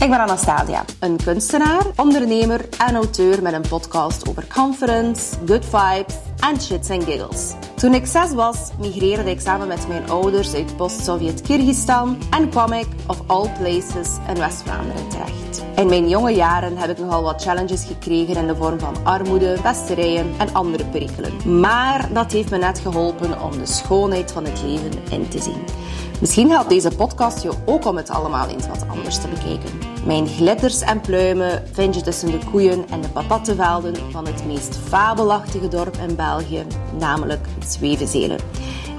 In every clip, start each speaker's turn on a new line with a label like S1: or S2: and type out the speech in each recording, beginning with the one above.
S1: Ik ben Anastasia, een kunstenaar, ondernemer en auteur met een podcast over conference, good vibes en shits en giggles. Toen ik zes was, migreerde ik samen met mijn ouders uit post-Sovjet Kyrgyzstan en kwam ik, of all places, in West-Vlaanderen terecht. In mijn jonge jaren heb ik nogal wat challenges gekregen in de vorm van armoede, pesterijen en andere perikelen. Maar dat heeft me net geholpen om de schoonheid van het leven in te zien. Misschien helpt deze podcast je ook om het allemaal eens wat anders te bekijken. Mijn glitters en pluimen vind je tussen de koeien en de patattenvelden van het meest fabelachtige dorp in België, namelijk Zwevenzelen.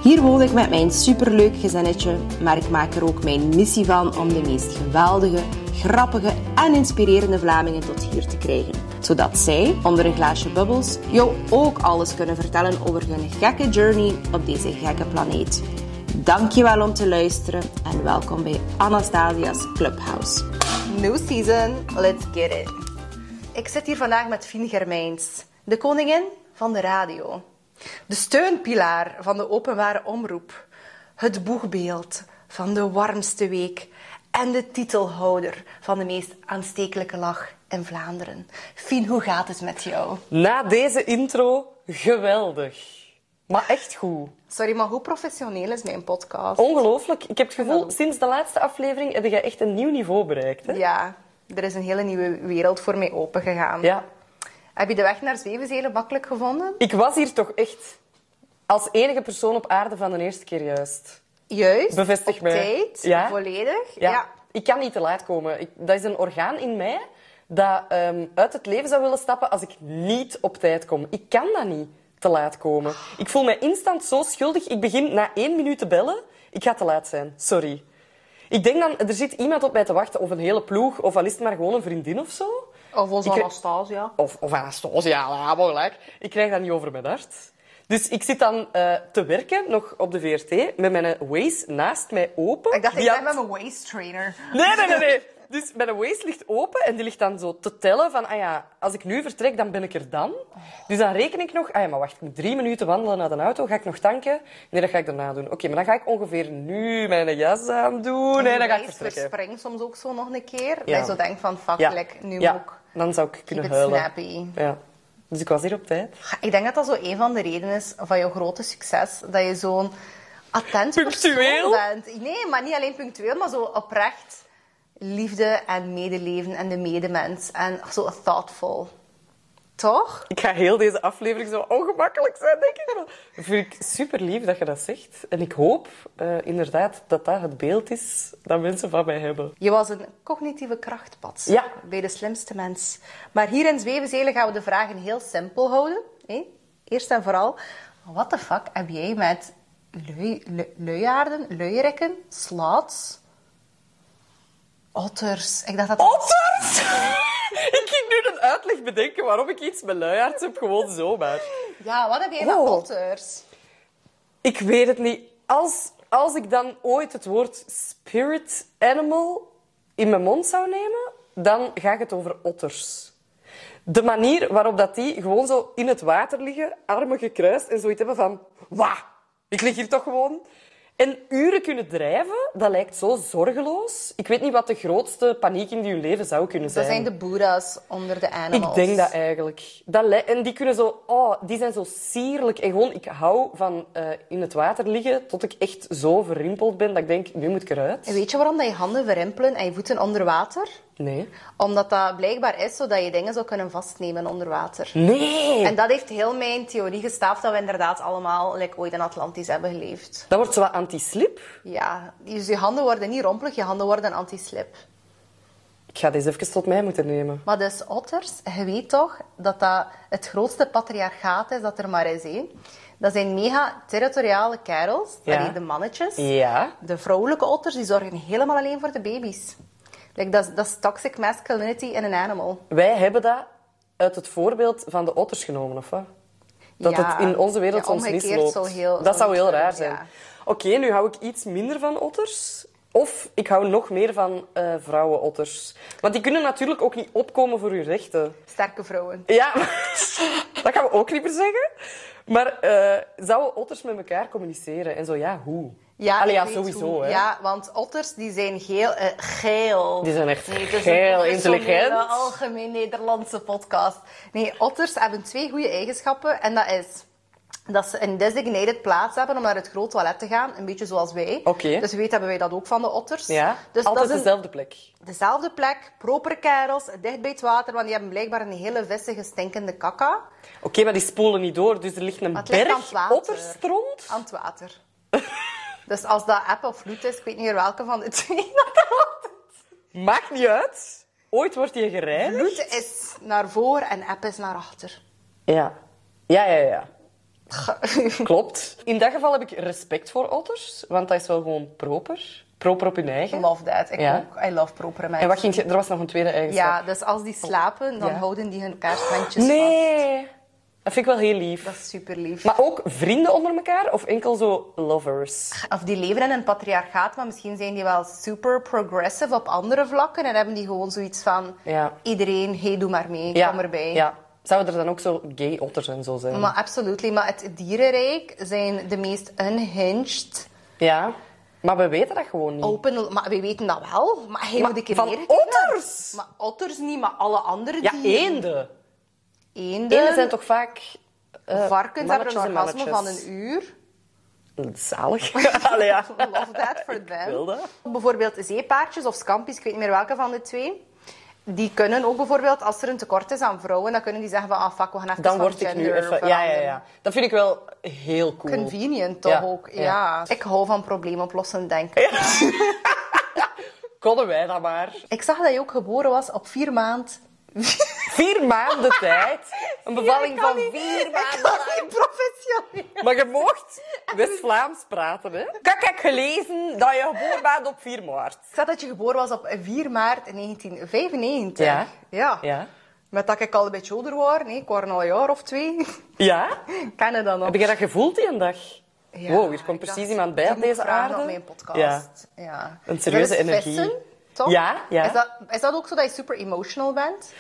S1: Hier woon ik met mijn superleuk gezinnetje, maar ik maak er ook mijn missie van om de meest geweldige, grappige en inspirerende Vlamingen tot hier te krijgen. Zodat zij, onder een glaasje bubbels, jou ook alles kunnen vertellen over hun gekke journey op deze gekke planeet. Dankjewel om te luisteren en welkom bij Anastasia's Clubhouse. New season, let's get it. Ik zit hier vandaag met Fien Germijns, de koningin van de radio. De steunpilaar van de openbare omroep. Het boegbeeld van de warmste week. En de titelhouder van de meest aanstekelijke lach in Vlaanderen. Fien, hoe gaat het met jou?
S2: Na deze intro, geweldig. Maar echt goed.
S1: Sorry, maar hoe professioneel is mijn podcast?
S2: Ongelooflijk. Ik heb het gevoel, sinds de laatste aflevering heb je echt een nieuw niveau bereikt. Hè?
S1: Ja, er is een hele nieuwe wereld voor mij opengegaan.
S2: Ja.
S1: Heb je de weg naar Zwevenzelen makkelijk gevonden?
S2: Ik was hier toch echt als enige persoon op aarde van de eerste keer juist.
S1: Juist.
S2: Bevestig
S1: op
S2: mij.
S1: tijd.
S2: Ja.
S1: Volledig.
S2: Ja. Ik kan niet te laat komen. Ik- dat is een orgaan in mij dat ehm, uit het leven zou willen stappen als ik niet op tijd kom. Ik kan dat niet, te laat komen. Ik voel mij instant zo schuldig. Ik begin na één minuut te bellen. Ik ga te laat zijn. Sorry. Ik denk dan, er zit iemand op mij te wachten. Of een hele ploeg. Of al is het maar gewoon een vriendin of zo.
S1: Of onze
S2: Ik re-
S1: Anastasia.
S2: Of, of Anastasia, ja, mogelijk. Ik krijg dat niet over mijn hart. Dus ik zit dan eh, te werken, nog op de VRT, met mijn Waze naast mij open.
S1: Ik dacht, ik
S2: Die
S1: ben
S2: had-
S1: met mijn waist trainer.
S2: Nee, nee, nee, nee. Dus mijn Waze ligt open en die ligt dan zo te tellen van, ah ja, als ik nu vertrek, dan ben ik er dan. Dus dan reken ik nog, ah ja, maar wacht, ik moet drie minuten wandelen naar de auto, ga ik nog tanken? Nee, dat ga ik daarna doen. Oké, maar dan ga ik ongeveer nu mijn jas aan doen en dan ga ik
S1: Mijn waist
S2: vertrekken.
S1: verspringt soms ook zo nog een keer.
S2: Ja.
S1: Dat je zo denkt van, fuck,
S2: Ja.
S1: like, nu
S2: Ja.
S1: ook.
S2: dan zou ik
S1: Keep
S2: kunnen
S1: it
S2: huilen.
S1: snappy.
S2: Ja. Dus ik was hier op tijd.
S1: Ik denk dat dat zo een van de redenen is van jouw grote succes. Dat je zo'n attent
S2: Punctueel?
S1: persoon bent. Nee, maar niet alleen punctueel, maar zo oprecht liefde en medeleven en de medemens. En zo thoughtful. Toch?
S2: Ik ga heel deze aflevering zo ongemakkelijk zijn, denk ik. Dat vind ik super lief dat je dat zegt. En ik hoop eh, inderdaad dat dat het beeld is dat mensen van mij hebben.
S1: Je was een cognitieve krachtpad
S2: Ja.
S1: bij de slimste mens. Maar hier in Zwevenzelen gaan we de vragen heel simpel houden. Hè? Eerst en vooral, wat de fuck heb jij met lui, lu- luiaarden, luierikken, slots, otters? Ik dacht dat
S2: Oh!
S1: dat-
S2: Otters! ik ging nu een uitleg bedenken waarom ik iets met luiaards heb, gewoon zomaar.
S1: Ja, wat heb jij met
S2: Oh.
S1: otters?
S2: Ik weet het niet. Als, als ik dan ooit het woord spirit animal in mijn mond zou nemen, dan ga ik het over otters. De manier waarop dat die gewoon zo in het water liggen, armen gekruist en zoiets hebben van... Wah, ik lig hier toch gewoon... En uren kunnen drijven, dat lijkt zo zorgeloos. Ik weet niet wat de grootste paniek in je leven zou kunnen
S1: Dat
S2: zijn.
S1: zijn de boeddha's onder de animals.
S2: Ik denk dat eigenlijk. Dat li- en die kunnen zo, oh, die zijn zo sierlijk. En gewoon, ik hou van eh, in het water liggen tot ik echt zo verrimpeld ben dat ik denk, nu moet ik
S1: En
S2: eruit.
S1: weet je waarom dat je handen verrimpelen en je voeten onder water?
S2: Nee.
S1: Omdat dat blijkbaar is zodat je dingen zou kunnen vastnemen onder water.
S2: Nee!
S1: En dat heeft heel mijn theorie gestaafd dat we inderdaad allemaal like, ooit in Atlantis hebben geleefd.
S2: Dat wordt zo wat anti-slip.
S1: Ja, dus je handen worden niet rompelig, je handen worden anti-slip.
S2: Ik ga deze even tot mij moeten nemen.
S1: Maar dus otters, je weet toch dat dat het grootste patriarchaat is dat er maar is. Hè? Dat zijn mega territoriale kerels,
S2: Ja.
S1: allee, de mannetjes.
S2: Ja.
S1: De vrouwelijke otters die zorgen helemaal alleen voor de baby's. Like, dat, is- dat is toxic masculinity in an animal.
S2: Wij hebben dat uit het voorbeeld van de otters genomen, of wat? Dat
S1: Ja.
S2: het in onze wereld
S1: Ja,
S2: soms
S1: omgekeerd
S2: misloopt.
S1: zou heel-
S2: dat zou heel
S1: zou-
S2: raar zijn.
S1: ja.
S2: Oké, nu hou ik iets minder van otters. Of ik hou nog meer van eh vrouwenotters. Want die kunnen natuurlijk ook niet opkomen voor hun rechten.
S1: Sterke vrouwen.
S2: Ja, dat gaan we ook liever zeggen. Maar eh zouden otters met elkaar communiceren? En zo, ja, hoe?
S3: Ja,
S2: Allee,
S3: ik
S2: ja,
S3: weet
S2: sowieso,
S3: hoe.
S2: hè.
S3: Ja, want otters die zijn geel. eh, geel. dus
S2: Die zijn echt
S3: het is
S2: heel
S3: een professionele,
S2: intelligent.
S3: algemeen Nederlandse podcast. Nee, otters hebben twee goede eigenschappen. En dat is dat ze een designated plaats hebben om naar het groot toilet te gaan. Een beetje zoals wij.
S2: Oké.
S3: Dus weet hebben wij dat ook van de otters.
S2: Ja,
S3: Dus
S2: altijd
S3: dat is een-
S2: dezelfde plek.
S3: dezelfde plek, proper kerels, dicht bij het water. Want die hebben blijkbaar een hele vissige, stinkende kakka
S2: Oké, maar die spoelen niet door, dus er ligt een
S3: Maar het ligt aan het
S2: berg
S3: water.
S2: otterstront.
S3: aan het water. dus als dat app of vloed is, ik weet niet meer welke van de twee dat dat
S2: Maakt niet uit. Ooit wordt je gereinigd.
S3: Bloed is naar voor en app is naar achter.
S2: Ja. Ja, ja, ja. Klopt. In dat geval heb ik respect voor otters, want dat is wel gewoon proper. Proper op hun eigen.
S3: love that. Ik
S2: Ja.
S3: ook. I love propere mensen.
S2: En wat ging je... Er was nog een tweede eigenschap.
S3: Ja, dus als die slapen, dan
S2: Ja.
S3: houden die hun kaarshandjes vast.
S2: Nee. Dat vind ik wel heel lief.
S3: Dat is super lief.
S2: Maar ook vrienden onder elkaar of enkel zo lovers?
S3: Of die leven in een patriarchaat, maar misschien zijn die wel super progressive op andere vlakken en hebben die gewoon zoiets van
S2: Ja.
S3: iedereen, hey, doe maar mee,
S2: Ja.
S3: kom erbij.
S2: Ja. Zouden er dan ook zo gay otters en zo zijn?
S3: Maar absoluut, maar het dierenrijk zijn de meest unhinged,
S2: Ja. Maar we weten dat gewoon niet.
S3: open... Maar we weten dat wel, maar heel
S2: Maar
S3: de keer
S2: van
S3: meer.
S2: otters?
S3: Maar otters niet, maar alle andere
S2: Ja,
S3: dieren.
S2: eenden.
S3: Eenden.
S2: Eenden zijn toch vaak... eh,
S3: Varkens hebben
S2: mannetjes
S3: een
S2: en
S3: orgasme van
S2: mannetjes.
S3: een uur.
S2: Zalig. Allee, ja.
S3: Love that for them.
S2: wil dat.
S3: Bijvoorbeeld zeepaardjes of scampi's, ik weet niet meer welke van de twee. Die kunnen ook bijvoorbeeld, als er een tekort is aan vrouwen, dan kunnen die zeggen van, ah fuck, we gaan even
S2: Dan
S3: van
S2: word ik nu
S3: gender
S2: even... Ja, ja,
S3: veranderen.
S2: ja. Dat vind ik wel heel cool.
S3: Convenient toch
S2: Ja,
S3: ook,
S2: ja.
S3: ja. Ik hou van probleemoplossend denken.
S2: Konden wij dat maar.
S3: Ik zag dat je ook geboren was op vier maand.
S2: Vier maanden tijd. Een bevalling
S3: Ja, ik kan
S2: van
S3: niet.
S2: vier
S3: Ik
S2: maanden
S3: kan
S2: lang.
S3: niet professioneel.
S2: Maar je mocht West-Vlaams praten, hè? Kijk, ik heb gelezen dat je geboren bent op 4 maart.
S3: Ik zag dat je geboren was op 4 maart 1995.
S2: Ja.
S3: Ja.
S2: Ja?
S3: Met dat ik al een beetje ouder was. Nee, ik was al een jaar of twee.
S2: Ja?
S3: Ik ken je dat nog.
S2: Heb je dat gevoeld die een dag?
S3: Ja,
S2: wow, hier komt
S3: ik dacht,
S2: precies iemand bij
S3: die
S2: op
S3: moet
S2: deze
S3: vragen
S2: aarde.
S3: op mijn podcast.
S2: Ja.
S3: Ja.
S2: Een serieuze
S3: Dat is
S2: energie.
S3: vissen, toch?
S2: Ja, ja.
S3: Is dat, is dat ook zo dat je super emotional bent?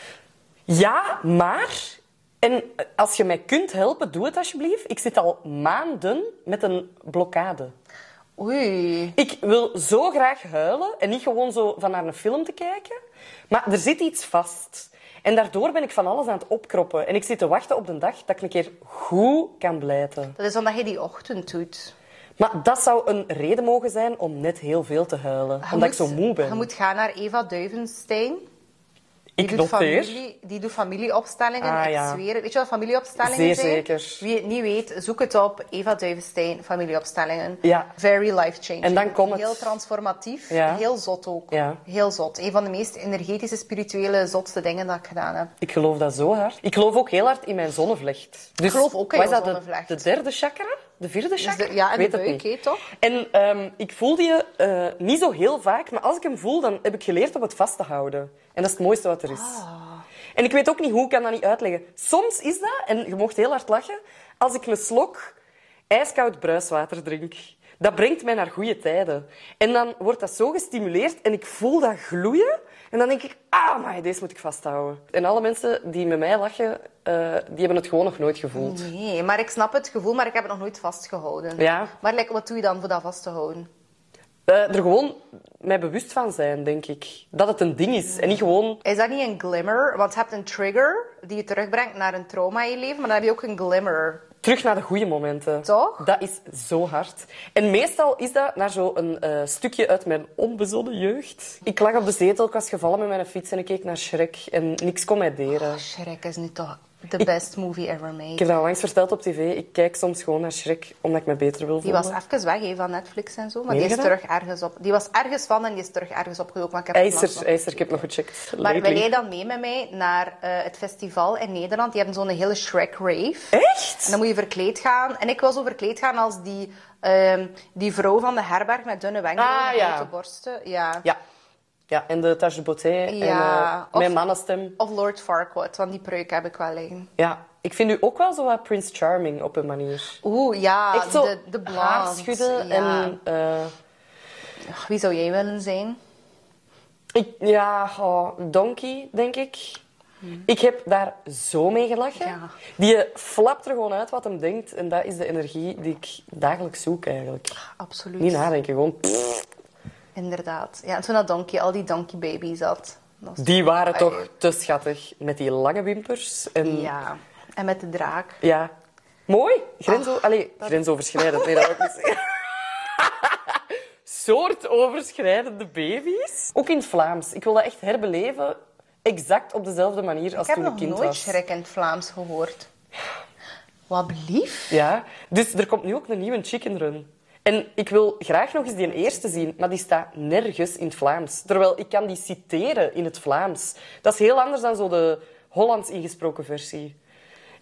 S2: ja, maar... En als je mij kunt helpen, doe het alsjeblieft. Ik zit al maanden met een blokkade.
S3: Oei.
S2: Ik wil zo graag huilen en niet gewoon zo van naar een film te kijken. Maar er zit iets vast. En daardoor ben ik van alles aan het opkroppen. En ik zit te wachten op de dag dat ik een keer goed kan blijten.
S3: Dat is omdat je die ochtend doet.
S2: Maar dat zou een reden mogen zijn om net heel veel te huilen.
S3: Je
S2: omdat ik
S3: moet-
S2: zo moe ben.
S3: Je moet gaan naar Eva Duivenstein.
S2: ik
S3: doet,
S2: noteer.
S3: familie, die doet familieopstellingen.
S2: Ah,
S3: ik
S2: ja.
S3: zweer het. Weet je wat familieopstellingen
S2: Zeer
S3: zijn?
S2: zeker.
S3: Wie het niet weet, zoek het op. Eva Duivenstein, familieopstellingen.
S2: Ja.
S3: Very life-changing.
S2: En dan komt het.
S3: Heel transformatief.
S2: Ja.
S3: Heel zot ook.
S2: Ja.
S3: Heel zot. Een van de meest energetische, spirituele, zotste dingen dat ik gedaan heb.
S2: Ik geloof dat zo hard. Ik geloof ook heel hard in mijn zonnevlecht. Dus,
S3: Ik geloof ook in
S2: wat is
S3: jouw
S2: dat, de-
S3: zonnevlecht.
S2: De, derde chakra? De vierde chakra?
S3: de- ja, en
S2: Ik weet
S3: de
S2: het
S3: buik,
S2: niet.
S3: hè, toch?
S2: En ehm, ik voel die eh, niet zo heel vaak, maar als ik hem voel, dan heb ik geleerd om het vast te houden. En dat is het mooiste wat er is.
S3: Ah.
S2: En ik weet ook niet hoe, ik kan dat niet uitleggen. Soms is dat, en je mocht heel hard lachen, als ik een slok ijskoud bruiswater drink. Dat brengt mij naar goede tijden. En dan wordt dat zo gestimuleerd en ik voel dat gloeien. En dan denk ik, ah, maar deze moet ik vasthouden. En alle mensen die met mij lachen, eh, die hebben het gewoon nog nooit gevoeld.
S3: Nee, maar ik snap het gevoel, maar ik heb het nog nooit vastgehouden.
S2: Ja.
S3: Maar like, wat doe je dan voor dat vast te houden?
S2: Eh, er gewoon mij bewust van zijn, denk ik. Dat het een ding is. En niet gewoon...
S3: Is dat niet een glimmer? Want je hebt een trigger die je terugbrengt naar een trauma in je leven, maar dan heb je ook een glimmer.
S2: Terug naar de goede momenten.
S3: Toch?
S2: Dat is zo hard. En meestal is dat naar zo'n eh, stukje uit mijn onbezonnen jeugd. Ik lag op de zetel, ik was gevallen met mijn fiets en ik keek naar Shrek. En niks kon mij deren.
S3: Shrek is nu toch de best movie ever made.
S2: Ik heb dat al langs verteld op tv. Ik kijk soms gewoon naar Shrek, omdat ik me beter wil
S3: Die
S2: voelen.
S3: was even weg hè, van Netflix en zo, maar
S2: Meen
S3: die is
S2: je dat?
S3: terug ergens op. Die was ergens van en die is terug ergens opgedoken. Maar ik heb
S2: Hij
S3: het
S2: is
S3: vannacht
S2: er,
S3: nog
S2: hij is er, ik heb nog gecheckt.
S3: Maar
S2: lately.
S3: wil jij dan mee met mij naar eh, het festival in Nederland? Die hebben zo'n hele Shrek rave.
S2: Echt?
S3: En dan moet je verkleed gaan. En ik wil zo verkleed gaan als die, ehm, die vrouw van de herberg met dunne wenkbrauwen
S2: Ah,
S3: en
S2: ja.
S3: grote borsten. Ja.
S2: Ja. Ja, en de Tage de Beauté en
S3: Ja,
S2: eh,
S3: of-
S2: mijn mannenstem.
S3: Of Lord Farquaad, want die pruik heb ik wel liggen.
S2: Ja, ik vind u ook wel zo wat Prince Charming op een manier.
S3: Oeh, ja,
S2: Echt zo
S3: Ah, de, de blond.
S2: haar schudden
S3: Ja.
S2: en... eh,
S3: Ach, Wie zou jij willen zijn?
S2: ik, ja, oh, Donkey, denk ik. Ik heb daar zo mee gelachen.
S3: Hmm. Ja.
S2: Die flapt er gewoon uit wat hem denkt. En dat is de energie die ik dagelijks zoek eigenlijk.
S3: Absoluut.
S2: Niet nadenken, gewoon... pff,
S3: Inderdaad. Ja, en toen dat donkey, al die donkey baby's had. Dat was-
S2: Die waren
S3: Ai.
S2: toch te schattig. Met die lange wimpers. En ja.
S3: Ja. En met de draak.
S2: Mooi. Grenso
S3: Ah,
S2: Allee, grensoverschrijdend. Nee, dat wil ik niet zeggen. Soortoverschrijdende baby's. Ook in het Vlaams. Ik wil dat echt herbeleven. Exact op dezelfde manier als
S3: ik
S2: toen
S3: heb
S2: ik
S3: nog
S2: kind
S3: nooit
S2: was.
S3: schrik in het Vlaams gehoord. Wat blief.
S2: Ja, dus er komt nu ook een nieuwe chicken run. En ik wil graag nog eens die eerste zien, maar die staat nergens in het Vlaams. Terwijl ik kan die citeren in het Vlaams. Dat is heel anders dan zo de Hollands ingesproken versie.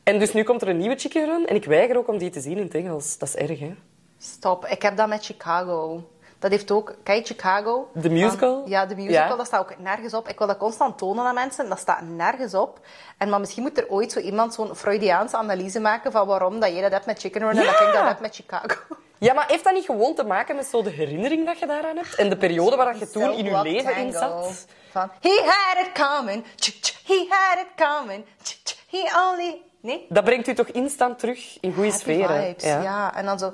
S2: En dus nu komt er een nieuwe chicken run en ik weiger ook om die te zien in het Engels. Dat is erg, hè?
S3: Stop. Ik heb dat met Chicago. Dat heeft ook... Kijk, Chicago.
S2: De musical?
S3: ja, de musical.
S2: Ja.
S3: Dat staat ook nergens op. Ik wil dat constant tonen aan mensen. Dat staat nergens op. En maar misschien moet er ooit zo iemand zo'n Freudiaanse analyse maken van waarom dat jij dat hebt met Chicken Run en dat
S2: Ja.
S3: ik dat heb met Chicago.
S2: Ja, maar heeft dat niet gewoon te maken met zo de herinnering dat je daaraan hebt? En de periode waar dat je toen in je
S3: Self-love
S2: leven in
S3: tango.
S2: zat?
S3: Van, he had it coming. Tch, tch, he had it coming. Tch, tch, he only... Nee?
S2: Dat brengt u toch instant terug in goede
S3: Happy
S2: sfeer?
S3: vibes, ja. En dan zo...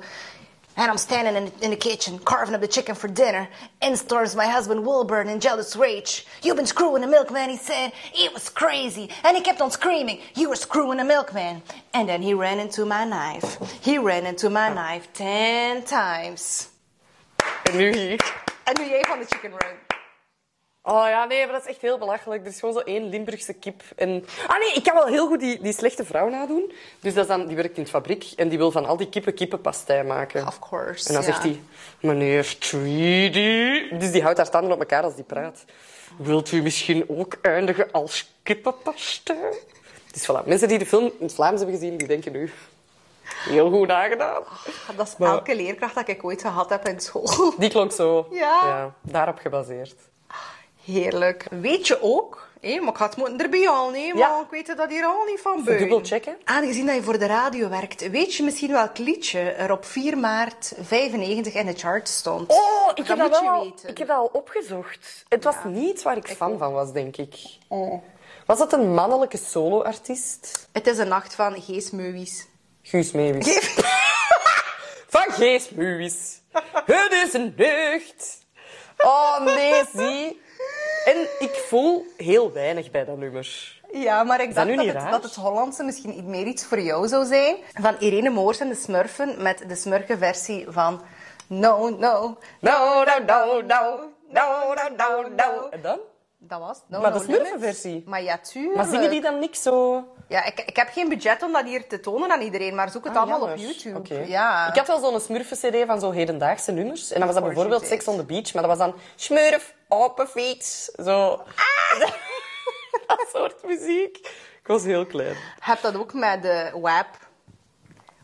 S3: And I'm standing in the, in the kitchen, carving up the chicken for dinner. In storms my husband Wilburn in jealous rage. You've been screwing the milkman, he said. It was crazy. And he kept on screaming, you were screwing the milkman. And then he ran into my knife. He ran into my knife ten times.
S2: En nu hier.
S3: En nu jij van de chicken run.
S2: Oh ja, nee, maar dat is echt heel belachelijk. Er is gewoon zo één Limburgse kip. En... Ah nee, ik kan wel heel goed die, die slechte vrouw nadoen. Dus dat is dan, die werkt in de fabriek en die wil van al die kippen kippenpastei maken.
S3: Of course,
S2: En dan
S3: ja.
S2: zegt hij, meneer Tweedy... Dus die houdt haar tanden op elkaar als die praat. Wilt u misschien ook eindigen als kippenpastei? Dus voilà, mensen die de film in het Vlaams hebben gezien, die denken nu... Heel goed nagedaan.
S3: Dat is
S2: Maar-
S3: elke leerkracht dat ik ooit gehad heb in school.
S2: Die klonk zo.
S3: Ja.
S2: daarop gebaseerd.
S3: Heerlijk. Weet je ook, hé, maar ik had het moeten erbij al nemen,
S2: Ja.
S3: want ik weet dat hier al niet van
S2: Even
S3: beu.
S2: dubbelchecken.
S3: Aangezien dat je voor de radio werkt, weet je misschien welk liedje er op 4 maart 95 in de chart stond?
S2: Oh, ik heb,
S3: dat
S2: dat
S3: moet je
S2: wel,
S3: weten.
S2: ik heb dat al opgezocht. Het was niets waar ik fan van was, denk ik.
S3: Oh.
S2: Was dat een mannelijke solo-artiest?
S3: Het is een nacht van geestmeuwies.
S2: Guus Meeuwis. van Gees Meeuwis. Het is een deugd. Oh nee, zie. En ik voel heel weinig bij dat nummer.
S3: Ja, maar ik
S2: dat
S3: dacht
S2: nu
S3: dat
S2: niet
S3: het,
S2: raar?
S3: dat het Hollandse misschien iets meer iets voor jou zou zijn. Van Irene Moors en de Smurfen met de Smurkenversie van No, No.
S2: No, no, no, no. No, no, no, no. En dan?
S3: Dat was het. No,
S2: Maar
S3: no
S2: de
S3: Limits.
S2: Smurfenversie.
S3: Maar ja, tuurlijk.
S2: Maar zingen die dan niks zo...
S3: Ja, ik, ik heb geen budget om dat hier te tonen aan iedereen, maar zoek het allemaal op
S2: Ah, Jammer.
S3: YouTube.
S2: Oké.
S3: Ja.
S2: Ik had wel zo'n smurfen-cd van zo hedendaagse nummers. En dan was dat
S3: course
S2: bijvoorbeeld
S3: you did.
S2: Sex on the Beach, maar dat was dan smurf, open fiets. Zo.
S3: Ah!
S2: dat soort muziek. Ik was heel klein.
S3: Heb dat ook met de web.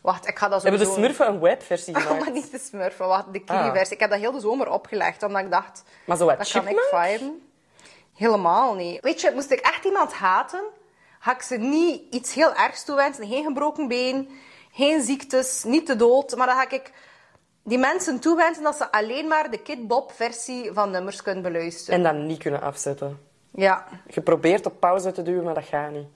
S3: Wacht, ik ga dat zo Oh,
S2: Hebben de smurfen een webversie gemaakt?
S3: maar niet de smurfen, wacht, de
S2: Ah.
S3: kiri-versie. Ik heb dat heel de zomer opgelegd, omdat ik dacht...
S2: Maar zo wat
S3: Dat kan ik
S2: Chipmunk?
S3: viben. Helemaal niet. Weet je, moest ik echt iemand haten, had ik ze niet iets heel ergs toewensen. Geen gebroken been, geen ziektes, niet de dood. Maar dan ga ik die mensen toewensen dat ze alleen maar de Kid Bob-versie van nummers kunnen beluisteren.
S2: En dan niet kunnen afzetten.
S3: Ja.
S2: Geprobeerd op pauze te duwen, maar dat gaat niet.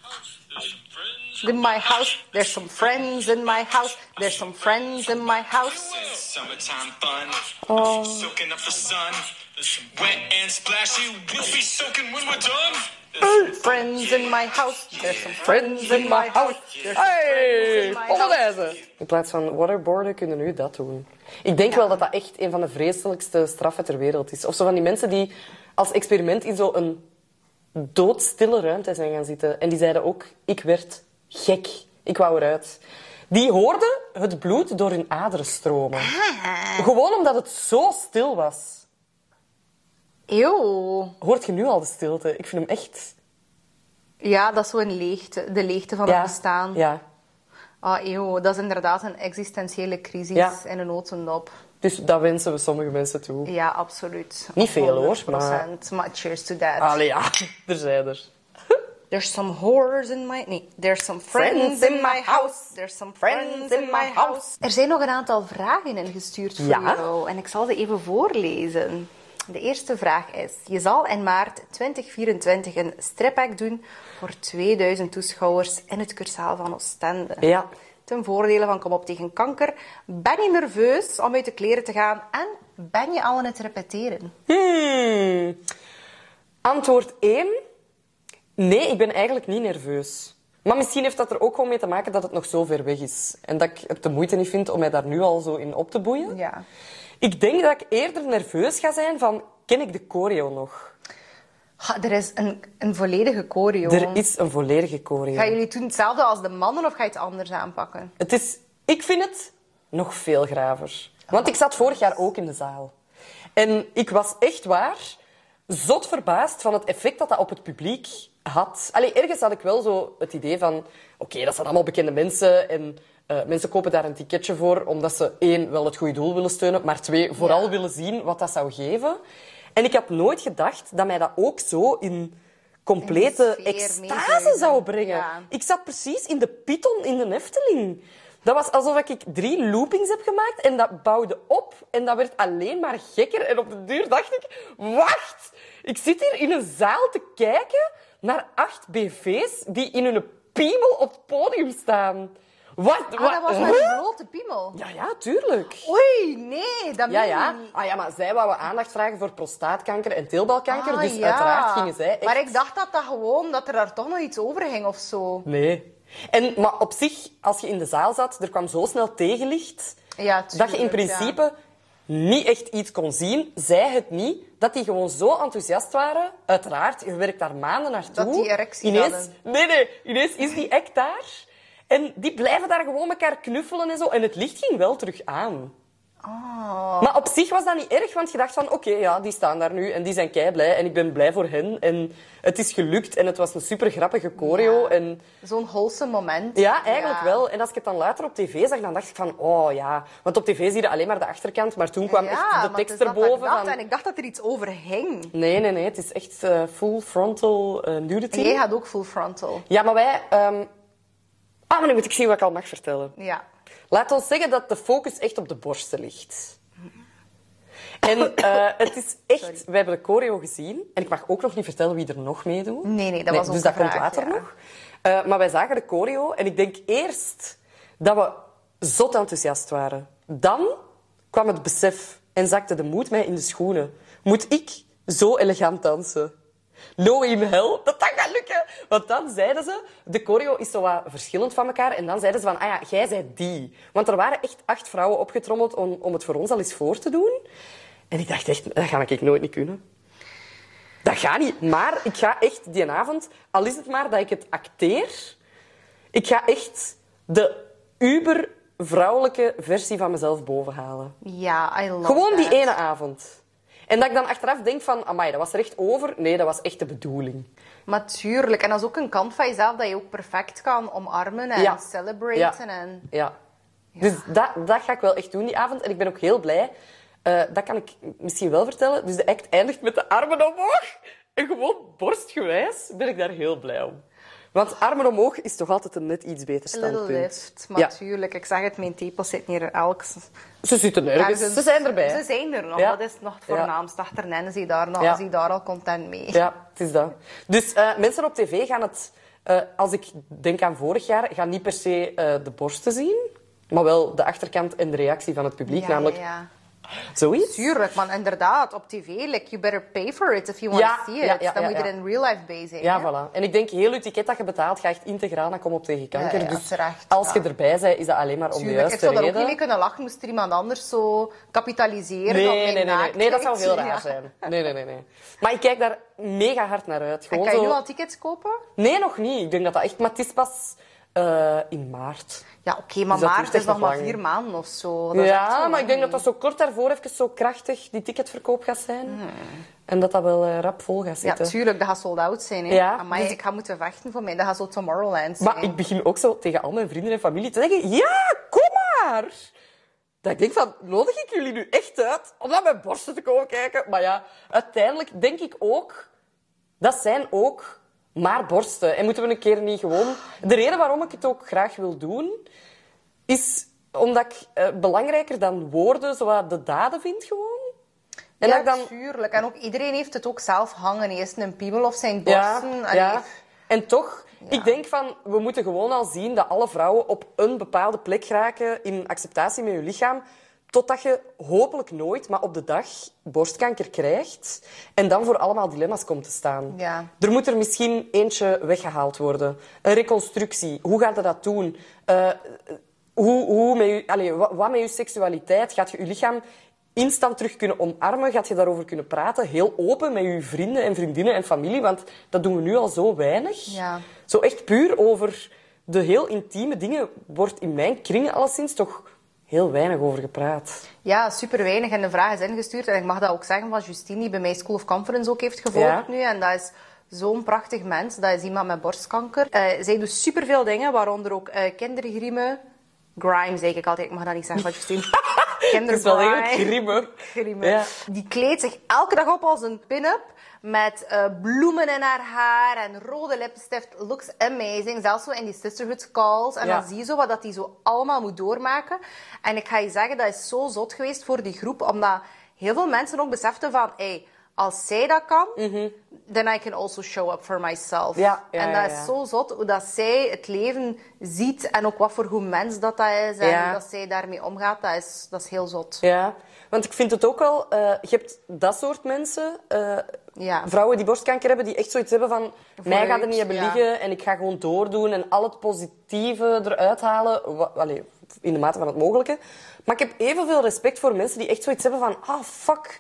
S3: In my house, there's some friends in my house. There's some friends in my house.
S4: Summertime fun,
S3: Oh.
S4: soaking up the sun. Wet and splashy, we'll be soaking when we're done.
S3: Friends in my house. There's some
S2: Friends in my house. Hey,
S3: my
S2: Polonaise. In plaats van waterboarden kunnen nu dat doen. Ik denk wel dat dat echt een van de vreselijkste straffen ter wereld is. Of zo van die mensen die als experiment in zo'n doodstille ruimte zijn gaan zitten. En die zeiden ook, ik werd gek. Ik wou eruit. Die hoorden het bloed door hun aderen stromen. Gewoon omdat het zo stil was.
S3: Eeuw.
S2: Hoort je nu al de stilte? Ik vind hem echt...
S3: Ja, dat is zo'n leegte. De leegte van
S2: ja,
S3: het bestaan.
S2: Ja.
S3: Ah, eeuw. Dat is inderdaad een existentiële crisis
S2: Ja.
S3: en een notendop.
S2: Dus dat wensen we sommige mensen toe.
S3: Ja, absoluut.
S2: Niet veel, hoor, Ah.
S3: 100%. Maar cheers to that.
S2: Allee, ja. Er zijn er.
S3: There's some horrors in my... Nee, there's some friends,
S2: Friends in
S3: in my
S2: my
S3: house. There's some friends in my house. Er zijn nog een aantal vragen ingestuurd voor
S2: Ja.
S3: jou. En ik zal ze even voorlezen. De eerste vraag is: je zal in maart 2024 een stripback doen voor 2000 toeschouwers in het cursaal van Oostende.
S2: Ja.
S3: Ten voordele van Kom op tegen kanker. Ben je nerveus om uit de kleren te gaan en ben je al aan het repeteren?
S2: Hmm. Antwoord 1. Nee, ik ben eigenlijk niet nerveus. Maar misschien heeft dat er ook gewoon mee te maken dat het nog zo ver weg is. En dat ik het de moeite niet vind om mij daar nu al zo in op te boeien.
S3: Ja.
S2: Ik denk dat ik eerder nerveus ga zijn van... Ken ik de choreo nog?
S3: Ha, er is een, een volledige choreo.
S2: Er is een volledige choreo.
S3: Gaan jullie toen hetzelfde als de mannen of ga je het anders aanpakken?
S2: Het is, ik vind het nog veel graver. Want ik zat vorig jaar ook in de zaal. En ik was echt waar zot verbaasd van het effect dat dat op het publiek had. Allee, ergens had ik wel zo het idee van... Oké, dat zijn allemaal bekende mensen en... eh, mensen kopen daar een ticketje voor omdat ze één, wel het goede doel willen steunen, maar twee, vooral willen zien wat dat zou geven. En ik had nooit gedacht dat mij dat ook zo in complete
S3: sfeer
S2: extase
S3: meegeven.
S2: zou brengen.
S3: Ja.
S2: Ik zat precies in de Python in de Efteling. Dat was alsof ik drie loopings heb gemaakt en dat bouwde op. En dat werd alleen maar gekker. En op de duur dacht ik, wacht! Ik zit hier in een zaal te kijken naar acht BV's die in hun piemel op het podium staan. Wat?
S3: Ah, dat was
S2: wat?
S3: met
S2: Huh?
S3: een blote piemel.
S2: Ja, ja, tuurlijk.
S3: Oei, nee, dat
S2: Ja,
S3: meen je
S2: ja.
S3: niet.
S2: Ah, ja, maar zij wouden aandacht vragen voor prostaatkanker en teelbalkanker.
S3: Ah,
S2: dus
S3: ja.
S2: uiteraard gingen zij echt...
S3: Maar ik dacht dat dat gewoon, dat er daar toch nog iets over ging of zo.
S2: Nee. En, maar op zich, als je in de zaal zat, er kwam zo snel tegenlicht...
S3: Ja,
S2: dat je in
S3: tuurlijk, ja.
S2: principe niet echt iets kon zien. Zij het niet. Dat die gewoon zo enthousiast waren. Uiteraard, je werkt daar maanden naartoe.
S3: Dat die erectie
S2: ineens,
S3: hadden.
S2: Nee, nee. Ineens is die act daar. En die blijven daar gewoon elkaar knuffelen en zo. En het licht ging wel terug aan.
S3: Ah.
S2: Maar op zich was dat niet erg, want je dacht van... Oké, ja, die staan daar nu en die zijn kei blij. En ik ben blij voor hen. En het is gelukt. En het was een super grappige choreo.
S3: Ja.
S2: En
S3: Zo'n holse moment.
S2: ja, eigenlijk wel. En als ik het dan later op tv zag, dan dacht ik van, oh ja. Want op tv zie je alleen maar de achterkant, maar toen kwam
S3: maar
S2: echt de
S3: het is
S2: tekst
S3: dat dat ik
S2: erboven.
S3: dacht,
S2: van-
S3: En ik dacht dat er iets over hing.
S2: Nee, nee, nee. Het is echt eh, full frontal eh,
S3: En
S2: nudity.
S3: jij gaat ook full frontal.
S2: Ja, maar wij... ehm, Ah, maar nu moet ik zien wat ik al mag vertellen.
S3: Ja.
S2: Laat ons zeggen dat de focus echt op de borsten ligt. En eh, het is echt... We hebben de choreo gezien. En ik mag ook nog niet vertellen wie er nog meedoet.
S3: Nee, nee, dat was
S2: Dus
S3: onze
S2: dat komt
S3: vraag,
S2: later
S3: ja.
S2: nog. Eh, maar wij zagen de choreo. En ik denk eerst dat we zot enthousiast waren. Dan kwam het besef en zakte de moed mij in de schoenen. Moet ik zo elegant dansen? No in hell, dat dat gaat lukken. Want dan zeiden ze, de choreo is zo wat verschillend van elkaar. En dan zeiden ze van, ah ja, jij bent die. Want er waren echt acht vrouwen opgetrommeld om, om het voor ons al eens voor te doen. En ik dacht echt, dat ga ik nooit niet kunnen. Dat gaat niet. Maar ik ga echt die avond, al is het maar dat ik het acteer, ik ga echt de uber vrouwelijke versie van mezelf bovenhalen.
S3: Ja, I love
S2: Gewoon die
S3: that.
S2: ene avond. En dat ik dan achteraf denk van, amai, dat was er echt over. Nee, dat was echt de bedoeling.
S3: Maar tuurlijk. En dat is ook een kant van jezelf dat je ook perfect kan omarmen en celebraten.
S2: Ja.
S3: En...
S2: Ja. Dus dat, dat ga ik wel echt doen die avond. En ik ben ook heel blij. Eh, dat kan ik misschien wel vertellen. Dus de act eindigt met de armen omhoog. En gewoon borstgewijs ben ik daar heel blij om. Want armen omhoog is toch altijd een net iets beter
S3: Little
S2: standpunt.
S3: lift,
S2: Ja.
S3: maar tuurlijk. Ik zag het, mijn tepels zitten hier elk
S2: Ze zitten ergens.
S3: Ergens-
S2: dus Ze zijn erbij.
S3: Ze zijn er nog.
S2: Ja.
S3: Dat is nog het voornaamste. Achterin zie je daar, nog,
S2: Ja.
S3: zie je daar al content mee.
S2: Ja, het is dat. Dus eh, mensen op tv gaan het, eh, als ik denk aan vorig jaar, gaan niet per se eh, de borsten zien. Maar wel de achterkant en de reactie van het publiek.
S3: Ja,
S2: namelijk,
S3: ja, ja.
S2: zoiets.
S3: Tuurlijk, man. Inderdaad, op tv. Like, you better pay for it if you want
S2: Ja,
S3: to see
S2: ja,
S3: it.
S2: ja,
S3: Dan
S2: ja,
S3: moet je
S2: ja.
S3: er in real life bij zijn.
S2: Ja,
S3: hè?
S2: voilà. En ik denk, heel het ticket dat je betaalt, gaat echt integraal naar Kom op tegen kanker.
S3: Ja, ja,
S2: dus
S3: terecht,
S2: als je
S3: ja.
S2: erbij bent, is dat alleen maar om de
S3: Tuurlijk. Ik
S2: juiste
S3: zou daar ook niet
S2: reden.
S3: mee kunnen lachen. Moest er iemand anders zo kapitaliseren
S2: nee,
S3: op
S2: nee,
S3: mijn
S2: nee, nee,
S3: naaktheid.
S2: nee, dat zou heel
S3: Ja.
S2: raar zijn. Nee, nee, nee, nee. Maar ik kijk daar mega hard naar uit.
S3: En
S2: Gewoon
S3: kan je
S2: zo-
S3: nu al tickets kopen?
S2: Nee, nog niet. Ik denk dat dat echt... Maar het is pas eh, in maart.
S3: Ja, oké, maar
S2: Dus dat
S3: maart
S2: duurt
S3: is
S2: echt
S3: nog
S2: nog
S3: maar
S2: lang.
S3: vier maanden of zo. Dat is echt zo
S2: Ja, maar
S3: lang
S2: ik denk dat
S3: niet.
S2: dat zo kort daarvoor even zo krachtig die ticketverkoop gaat zijn. En dat dat wel eh, rap vol gaat
S3: Hmm. Ja,
S2: zitten.
S3: tuurlijk, dat gaat sold out zijn. Hè.
S2: Ja,
S3: Amai,
S2: dus-
S3: ik ga moeten vechten voor mij. Dat gaat zo Tomorrowland zijn.
S2: Maar ik begin ook zo tegen al mijn vrienden en familie te zeggen: Ja, kom maar! Dat ik denk van, nodig ik jullie nu echt uit om naar mijn borsten te komen kijken? Maar ja, uiteindelijk denk ik ook, dat zijn ook maar borsten. En moeten we een keer niet gewoon... De reden waarom ik het ook graag wil doen, is omdat ik eh, belangrijker dan woorden zo wat de daden vind gewoon. En En dat
S3: ja,
S2: ik dan
S3: natuurlijk. En ook iedereen heeft het ook zelf hangen. Eerst een piemel of zijn borsten. Allee,
S2: ja. En toch, ik denk van, we moeten gewoon al zien dat alle vrouwen op een bepaalde plek raken in acceptatie met je lichaam, totdat je hopelijk nooit, maar op de dag, borstkanker krijgt en dan voor allemaal dilemma's komt te staan.
S3: Ja.
S2: Er moet er misschien eentje weggehaald worden. Een reconstructie. Hoe gaat je dat doen? Eh, hoe, hoe met je, allee, wa- wat, met je seksualiteit? Gaat je je lichaam instant terug kunnen omarmen? Gaat je daarover kunnen praten? Heel open met je vrienden en vriendinnen en familie, want dat doen we nu al zo weinig.
S3: Ja.
S2: Zo echt puur over de heel intieme dingen wordt in mijn kringen alleszins toch heel weinig over gepraat.
S3: Ja, super weinig. En de vraag is ingestuurd. En ik mag dat ook zeggen van Justine, die bij mij School of Conference ook heeft gevolgd
S2: Ja.
S3: nu. En dat is zo'n prachtig mens. Dat is iemand met borstkanker. Eh, zij doet superveel dingen, waaronder ook eh kindergriemen. Grime, zeg ik altijd. Ik mag dat niet zeggen van Justine. Kindergrime.
S2: Dat is wel heel grimmig.
S3: Grimmig.
S2: Ja.
S3: Die kleedt zich elke dag op als een pin-up. Met eh, bloemen in haar haar en rode lipstift. Looks amazing. Zelfs zo in die sisterhood calls. En
S2: Ja.
S3: dan zie je zo wat dat die zo allemaal moet doormaken. En ik ga je zeggen, dat is zo zot geweest voor die groep. Omdat heel veel mensen ook beseften van... Hey, als zij dat kan, then I can also show up for myself.
S2: Mhm. Ja, ja,
S3: en dat
S2: ja,
S3: is
S2: ja.
S3: zo zot hoe dat zij het leven ziet en ook wat voor goed mens dat, dat is. En
S2: Ja.
S3: hoe dat zij daarmee omgaat, dat is, dat is heel zot.
S2: Ja, want ik vind het ook wel... eh, je hebt dat soort mensen, eh,
S3: Ja.
S2: vrouwen die borstkanker hebben, die echt zoiets hebben van... mij gaat er niet hebben
S3: ja.
S2: liggen en ik ga gewoon doordoen en al het positieve eruit halen. wa- allee, in de mate van het mogelijke. Maar ik heb evenveel respect voor mensen die echt zoiets hebben van... Ah, fuck.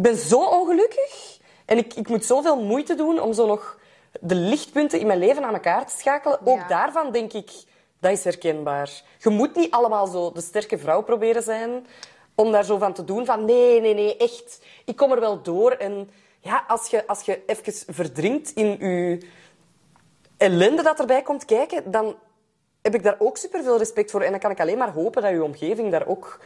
S2: Ik ben zo ongelukkig. En ik, ik moet zoveel moeite doen om zo nog de lichtpunten in mijn leven aan elkaar te schakelen.
S3: Ja.
S2: Ook daarvan denk ik, dat is herkenbaar. Je moet niet allemaal zo de sterke vrouw proberen zijn om daar zo van te doen van nee, nee, nee, echt. Ik kom er wel door. En ja, als je, als je even verdrinkt in je ellende dat erbij komt kijken, dan heb ik daar ook superveel respect voor. En dan kan ik alleen maar hopen dat je omgeving daar ook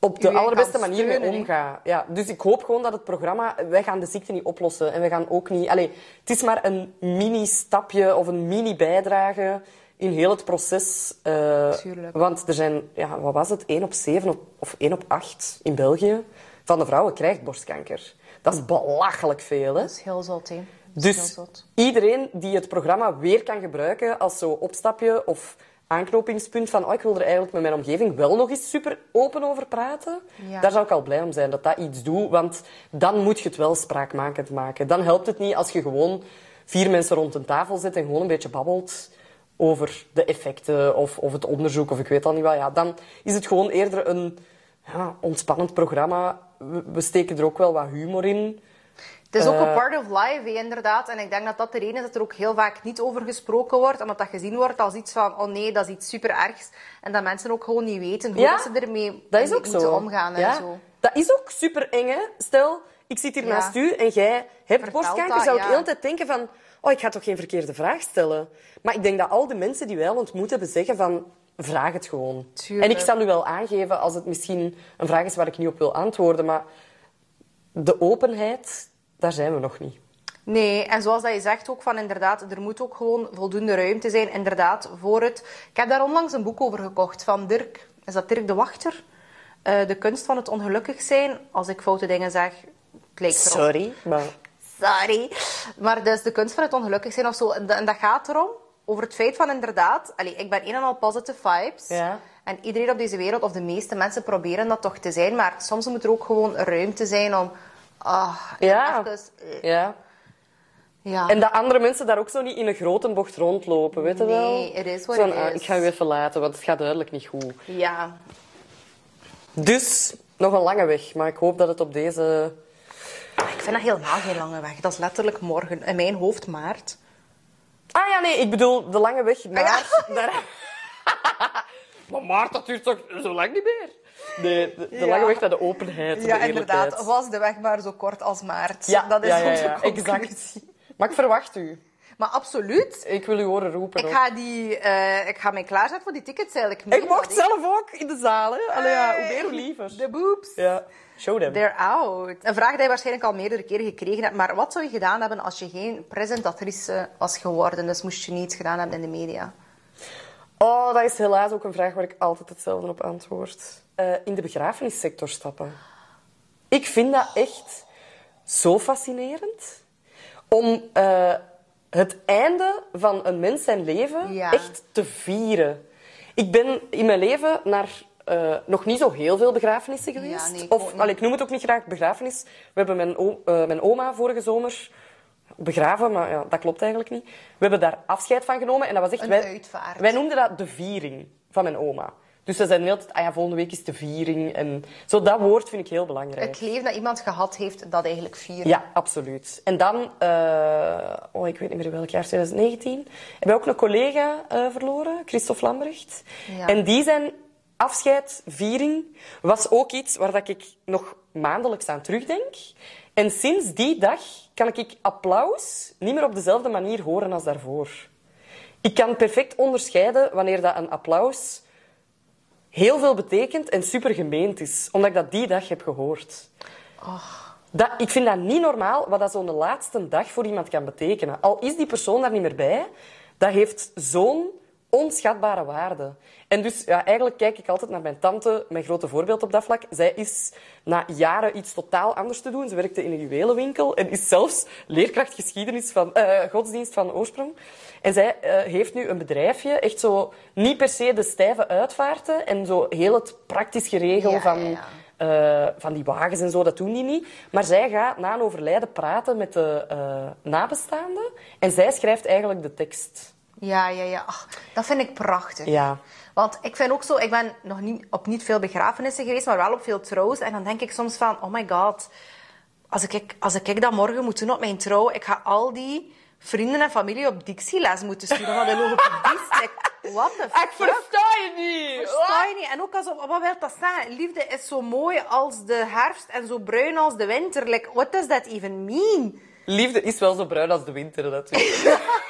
S2: op de
S3: Iedereen
S2: allerbeste
S3: kan
S2: manier mee
S3: steunen, hè?
S2: omgaat. Ja, dus ik hoop gewoon dat het programma... Wij gaan de ziekte niet oplossen. En we gaan ook niet... Allee, het is maar een mini-stapje of een mini-bijdrage in heel het proces. eh,
S3: Tuurlijk.
S2: want er zijn... Ja, wat was het? 1 op 7 op- of 1 op 8 in België van de vrouwen krijgt borstkanker. Dat is belachelijk veel, hè?
S3: Dat is heel zot, hè. Dat is
S2: Dus
S3: heel zot.
S2: iedereen die het programma weer kan gebruiken als zo opstapje of aanknopingspunt van oh, ik wil er eigenlijk met mijn omgeving wel nog eens super open over praten.
S3: Ja.
S2: Daar zou ik al blij om zijn dat dat iets doet, want dan moet je het wel spraakmakend maken. Dan helpt het niet als je gewoon vier mensen rond een tafel zit en gewoon een beetje babbelt over de effecten of, of het onderzoek of ik weet al niet wat. Ja, dan is het gewoon eerder een ja, ontspannend programma. We, we steken er ook wel wat humor in.
S3: Het is ook
S2: Eh.
S3: een part of life, hè, inderdaad. En ik denk dat dat de reden is dat er ook heel vaak niet over gesproken wordt. Omdat dat gezien wordt als iets van, oh nee, dat is iets super ergs. En dat mensen ook gewoon niet weten hoe
S2: Ja,
S3: dat ze ermee
S2: Dat is
S3: mee
S2: ook
S3: moeten
S2: zo.
S3: omgaan en
S2: Ja.
S3: zo.
S2: Dat is ook super eng, hè? Stel, ik zit hier
S3: Ja.
S2: naast u en jij hebt
S3: Vertelt
S2: borstkanker,
S3: dat,
S2: zou ik
S3: ja.
S2: de hele tijd denken van... Oh, ik ga toch geen verkeerde vraag stellen? Maar ik denk dat al de mensen die wij al ontmoet hebben zeggen van... Vraag het gewoon.
S3: Tuurlijk.
S2: En ik zal u wel aangeven als het misschien een vraag is waar ik niet op wil antwoorden. Maar de openheid, daar zijn we nog niet.
S3: Nee, en zoals dat je zegt ook van inderdaad, er moet ook gewoon voldoende ruimte zijn inderdaad voor het... Ik heb daar onlangs een boek over gekocht van Dirk. Is dat Dirk de Wachter? Eh, de kunst van het ongelukkig zijn. Als ik foute dingen zeg, het lijkt erop.
S2: Sorry, maar...
S3: Sorry. Maar dus de kunst van het ongelukkig zijn of zo. En da- en dat gaat erom, over het feit van inderdaad... Allee, ik ben een en al positive vibes.
S2: Ja.
S3: En iedereen op deze wereld, of de meeste mensen, proberen dat toch te zijn. Maar soms moet er ook gewoon ruimte zijn om... Ah,
S2: Ja.
S3: even, eh,
S2: Ja.
S3: ja.
S2: En dat andere mensen daar ook zo niet in een grote bocht rondlopen, weet je wel?
S3: Nee, it is what
S2: Zo van,
S3: it
S2: ah,
S3: is.
S2: Ik ga u even laten, want het gaat duidelijk niet goed.
S3: ja.
S2: Dus nog een lange weg, maar ik hoop dat het op deze.
S3: Ik vind dat helemaal geen lange weg. Dat is letterlijk morgen. In mijn hoofd maart.
S2: Ah ja, nee, ik bedoel de lange weg naar.
S3: Ah,
S2: naar- maar Maart, dat duurt toch zo lang niet meer? Nee, de, de
S3: Ja.
S2: lange weg naar de openheid.
S3: Ja,
S2: de eerlijkheid.
S3: inderdaad. Was de weg maar zo kort als maart.
S2: Ja,
S3: dat is
S2: ja, ja,
S3: onze
S2: ja,
S3: conclusie.
S2: exact. Maar ik verwacht u.
S3: Maar absoluut.
S2: Ik wil u horen roepen.
S3: Ik
S2: ook.
S3: ga, die, eh, ik ga mij klaarzetten voor die tickets eigenlijk. meen
S2: ik
S3: dat,
S2: mocht
S3: hè.
S2: zelf ook in de zaal, hè?
S3: Ah,
S2: Allee, ja, hoe meer,
S3: Hey,
S2: hoe liever.
S3: De boobs.
S2: Ja, show them.
S3: They're out. Een vraag die je waarschijnlijk al meerdere keren gekregen hebt. Maar wat zou je gedaan hebben als je geen presentatrice was geworden? Dus moest je niets gedaan hebben in de media.
S2: Oh, dat is helaas ook een vraag waar ik altijd hetzelfde op antwoord. Eh, in de begrafenissector stappen. Ik vind dat echt zo fascinerend. Om eh, het einde van een mens zijn leven
S3: Ja.
S2: echt te vieren. Ik ben in mijn leven naar eh, nog niet zo heel veel begrafenissen geweest.
S3: nee, ik ook
S2: of,
S3: niet.
S2: allee, ik noem het ook niet graag begrafenis. We hebben mijn, o- eh, mijn oma vorige zomer begraven, maar ja, dat klopt eigenlijk niet. We hebben daar afscheid van genomen en dat was echt...
S3: Een
S2: wij,
S3: uitvaart.
S2: Wij noemden dat de viering van mijn oma. Dus ze zeiden de hele tijd, ah ja, volgende week is de viering. En zo, dat woord vind ik heel belangrijk.
S3: Het leven dat iemand gehad heeft, dat eigenlijk vieren.
S2: Ja, absoluut. En dan, eh, oh, ik weet niet meer welk jaar, 2019, hebben we ook een collega eh, verloren, Christophe Lambrecht.
S3: Ja.
S2: En die zijn afscheid, viering, was ook iets waar dat ik nog maandelijks aan terugdenk. En sinds die dag kan ik applaus niet meer op dezelfde manier horen als daarvoor. Ik kan perfect onderscheiden wanneer dat een applaus heel veel betekent en super gemeend is, omdat ik dat die dag heb gehoord. Dat, ik vind dat niet normaal wat dat zo'n laatste dag voor iemand kan betekenen. Al is die persoon daar niet meer bij, dat heeft zo'n onschatbare waarde. En dus ja, eigenlijk kijk ik altijd naar mijn tante, mijn grote voorbeeld op dat vlak. Zij is na jaren iets totaal anders te doen. Ze werkte in een juwelenwinkel en is zelfs leerkracht geschiedenis van eh, godsdienst van oorsprong. En zij eh, heeft nu een bedrijfje, echt zo niet per se de stijve uitvaarten en zo heel het praktisch geregel
S3: Ja, ja,
S2: van
S3: ja.
S2: eh, van die wagens en zo, dat doen die niet. Maar zij gaat na een overlijden praten met de eh, nabestaanden. En zij schrijft eigenlijk de tekst.
S3: Ja, ja, ja. Ach, dat vind ik prachtig.
S2: Ja.
S3: Want ik vind ook zo, ik ben nog niet, op niet veel begrafenissen geweest, maar wel op veel trouws. En dan denk ik soms van, oh my god, als ik, als ik dat morgen moet doen op mijn trouw, ik ga al die vrienden en familie op dictieles moeten sturen van de logopedist. Like, What the fuck?
S2: je niet!
S3: Versta je niet? En ook als op, wat wil dat staan? Liefde is zo mooi als de herfst en zo bruin als de winter. Like, what does that even mean?
S2: Liefde is wel zo bruin als de winter, natuurlijk.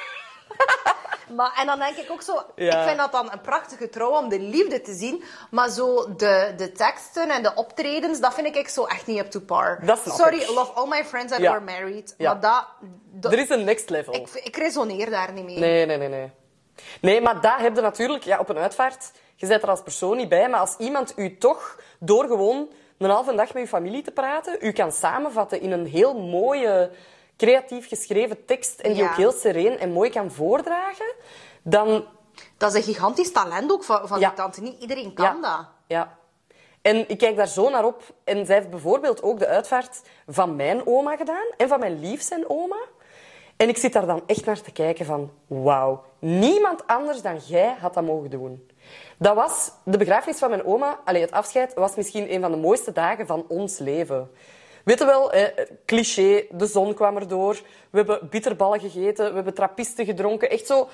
S3: Maar, en dan denk ik ook zo,
S2: Ja.
S3: ik vind dat dan een prachtige trouw om de liefde te zien. Maar zo de, de teksten en de optredens, dat vind ik echt zo echt niet up to par.
S2: Dat snap
S3: Sorry,
S2: ik.
S3: love all my friends that
S2: Ja.
S3: were married.
S2: Ja.
S3: Maar dat, dat-
S2: er is een next level.
S3: ik, ik resoneer daar niet mee.
S2: Nee, nee, nee, nee. Nee, maar dat heb je natuurlijk ja, op een uitvaart. Je bent er als persoon niet bij, maar als iemand u toch door gewoon een halve dag met uw familie te praten, u kan samenvatten in een heel mooie, creatief geschreven tekst en die
S3: Ja.
S2: ook heel sereen en mooi kan voordragen, dan
S3: Dat is een gigantisch talent ook van, van
S2: Ja.
S3: die tante. Niet iedereen kan
S2: ja.
S3: dat.
S2: Ja. En ik kijk daar zo naar op. En zij heeft bijvoorbeeld ook de uitvaart van mijn oma gedaan en van mijn lief zijn oma. En ik zit daar dan echt naar te kijken van, wauw, niemand anders dan jij had dat mogen doen. Dat was de begrafenis van mijn oma, allee, het afscheid, was misschien een van de mooiste dagen van ons leven. Weet je wel, eh, cliché, de zon kwam erdoor, we hebben bitterballen gegeten, we hebben trappisten gedronken, echt zo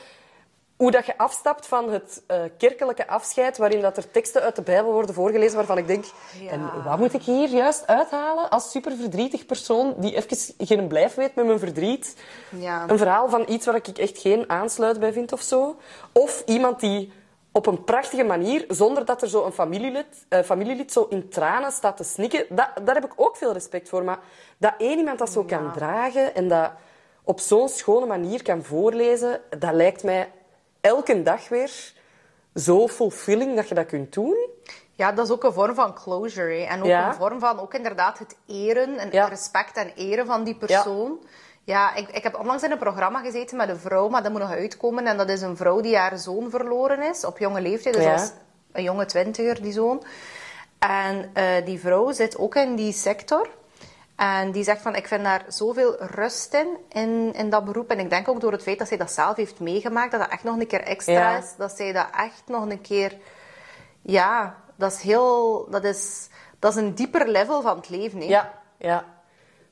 S2: hoe dat je afstapt van het eh, kerkelijke afscheid, waarin dat er teksten uit de Bijbel worden voorgelezen, waarvan ik denk,
S3: Ja.
S2: en wat moet ik hier juist uithalen als superverdrietig persoon die even geen blijf weet met mijn verdriet?
S3: Ja.
S2: Een verhaal van iets waar ik echt geen aansluit bij vind of zo. Of iemand die op een prachtige manier, zonder dat er zo een familielid, eh, familielid zo in tranen staat te snikken, dat, daar heb ik ook veel respect voor. Maar dat één iemand dat zo kan dragen en dat op zo'n schone manier kan voorlezen, dat lijkt mij elke dag weer zo fulfilling dat je dat kunt doen.
S3: Ja, dat is ook een vorm van closure. hè. En ook
S2: Ja.
S3: een vorm van ook inderdaad het eren en
S2: Ja.
S3: respect en eren van die persoon. Ja, ik, ik heb onlangs in een programma gezeten met een vrouw, maar dat moet nog uitkomen. En dat is een vrouw die haar zoon verloren is op jonge leeftijd. Dus
S2: Ja.
S3: dat is een jonge twintiger, die zoon. En eh, die vrouw zit ook in die sector. En die zegt van, ik vind daar zoveel rust in, in, in dat beroep. En ik denk ook door het feit dat zij dat zelf heeft meegemaakt, dat dat echt nog een keer extra
S2: Ja.
S3: is. Dat zij dat echt nog een keer... Ja, dat is heel... Dat is, dat is een dieper level van het leven, hè?
S2: Ja, ja.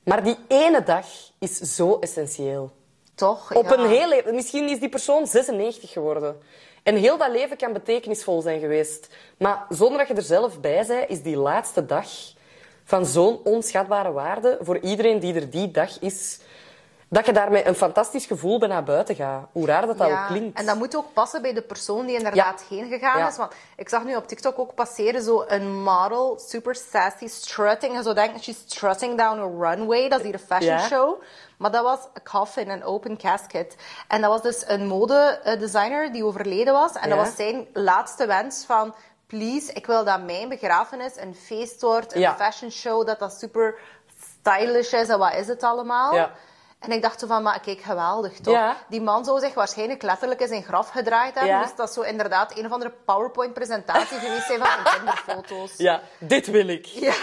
S2: Maar die ene dag is zo essentieel.
S3: Toch?
S2: Op
S3: ja.
S2: een heel leven. Misschien is die persoon 96 geworden. En heel dat leven kan betekenisvol zijn geweest. Maar zonder dat je er zelf bij bent, is die laatste dag van zo'n onschatbare waarde voor iedereen die er die dag is. Dat je daarmee een fantastisch gevoel bij naar buiten gaat. Hoe raar dat dat
S3: Ja,
S2: ook klinkt.
S3: En dat moet ook passen bij de persoon die inderdaad heen gegaan
S2: Ja.
S3: is. Want ik zag nu op TikTok ook passeren zo een model, super sassy, strutting. En zo denken, she's strutting down a runway. Dat is hier een fashion
S2: Ja.
S3: show. Maar dat was een coffin, een open casket. En dat was dus een modedesigner eh, die overleden was. En
S2: Ja.
S3: dat was zijn laatste wens van... please, ik wil dat mijn begrafenis een feest wordt, een
S2: Ja.
S3: fashion show, dat dat super stylish is en wat is het allemaal.
S2: Ja.
S3: En ik dacht zo van, maar kijk, geweldig toch?
S2: Ja.
S3: Die man zou zich waarschijnlijk letterlijk in zijn graf gedraaid hebben.
S2: Ja.
S3: Dus dat zou inderdaad een of andere PowerPoint-presentatie geweest zijn van zijn kinderfoto's.
S2: Ja, dit wil ik.
S3: Ja.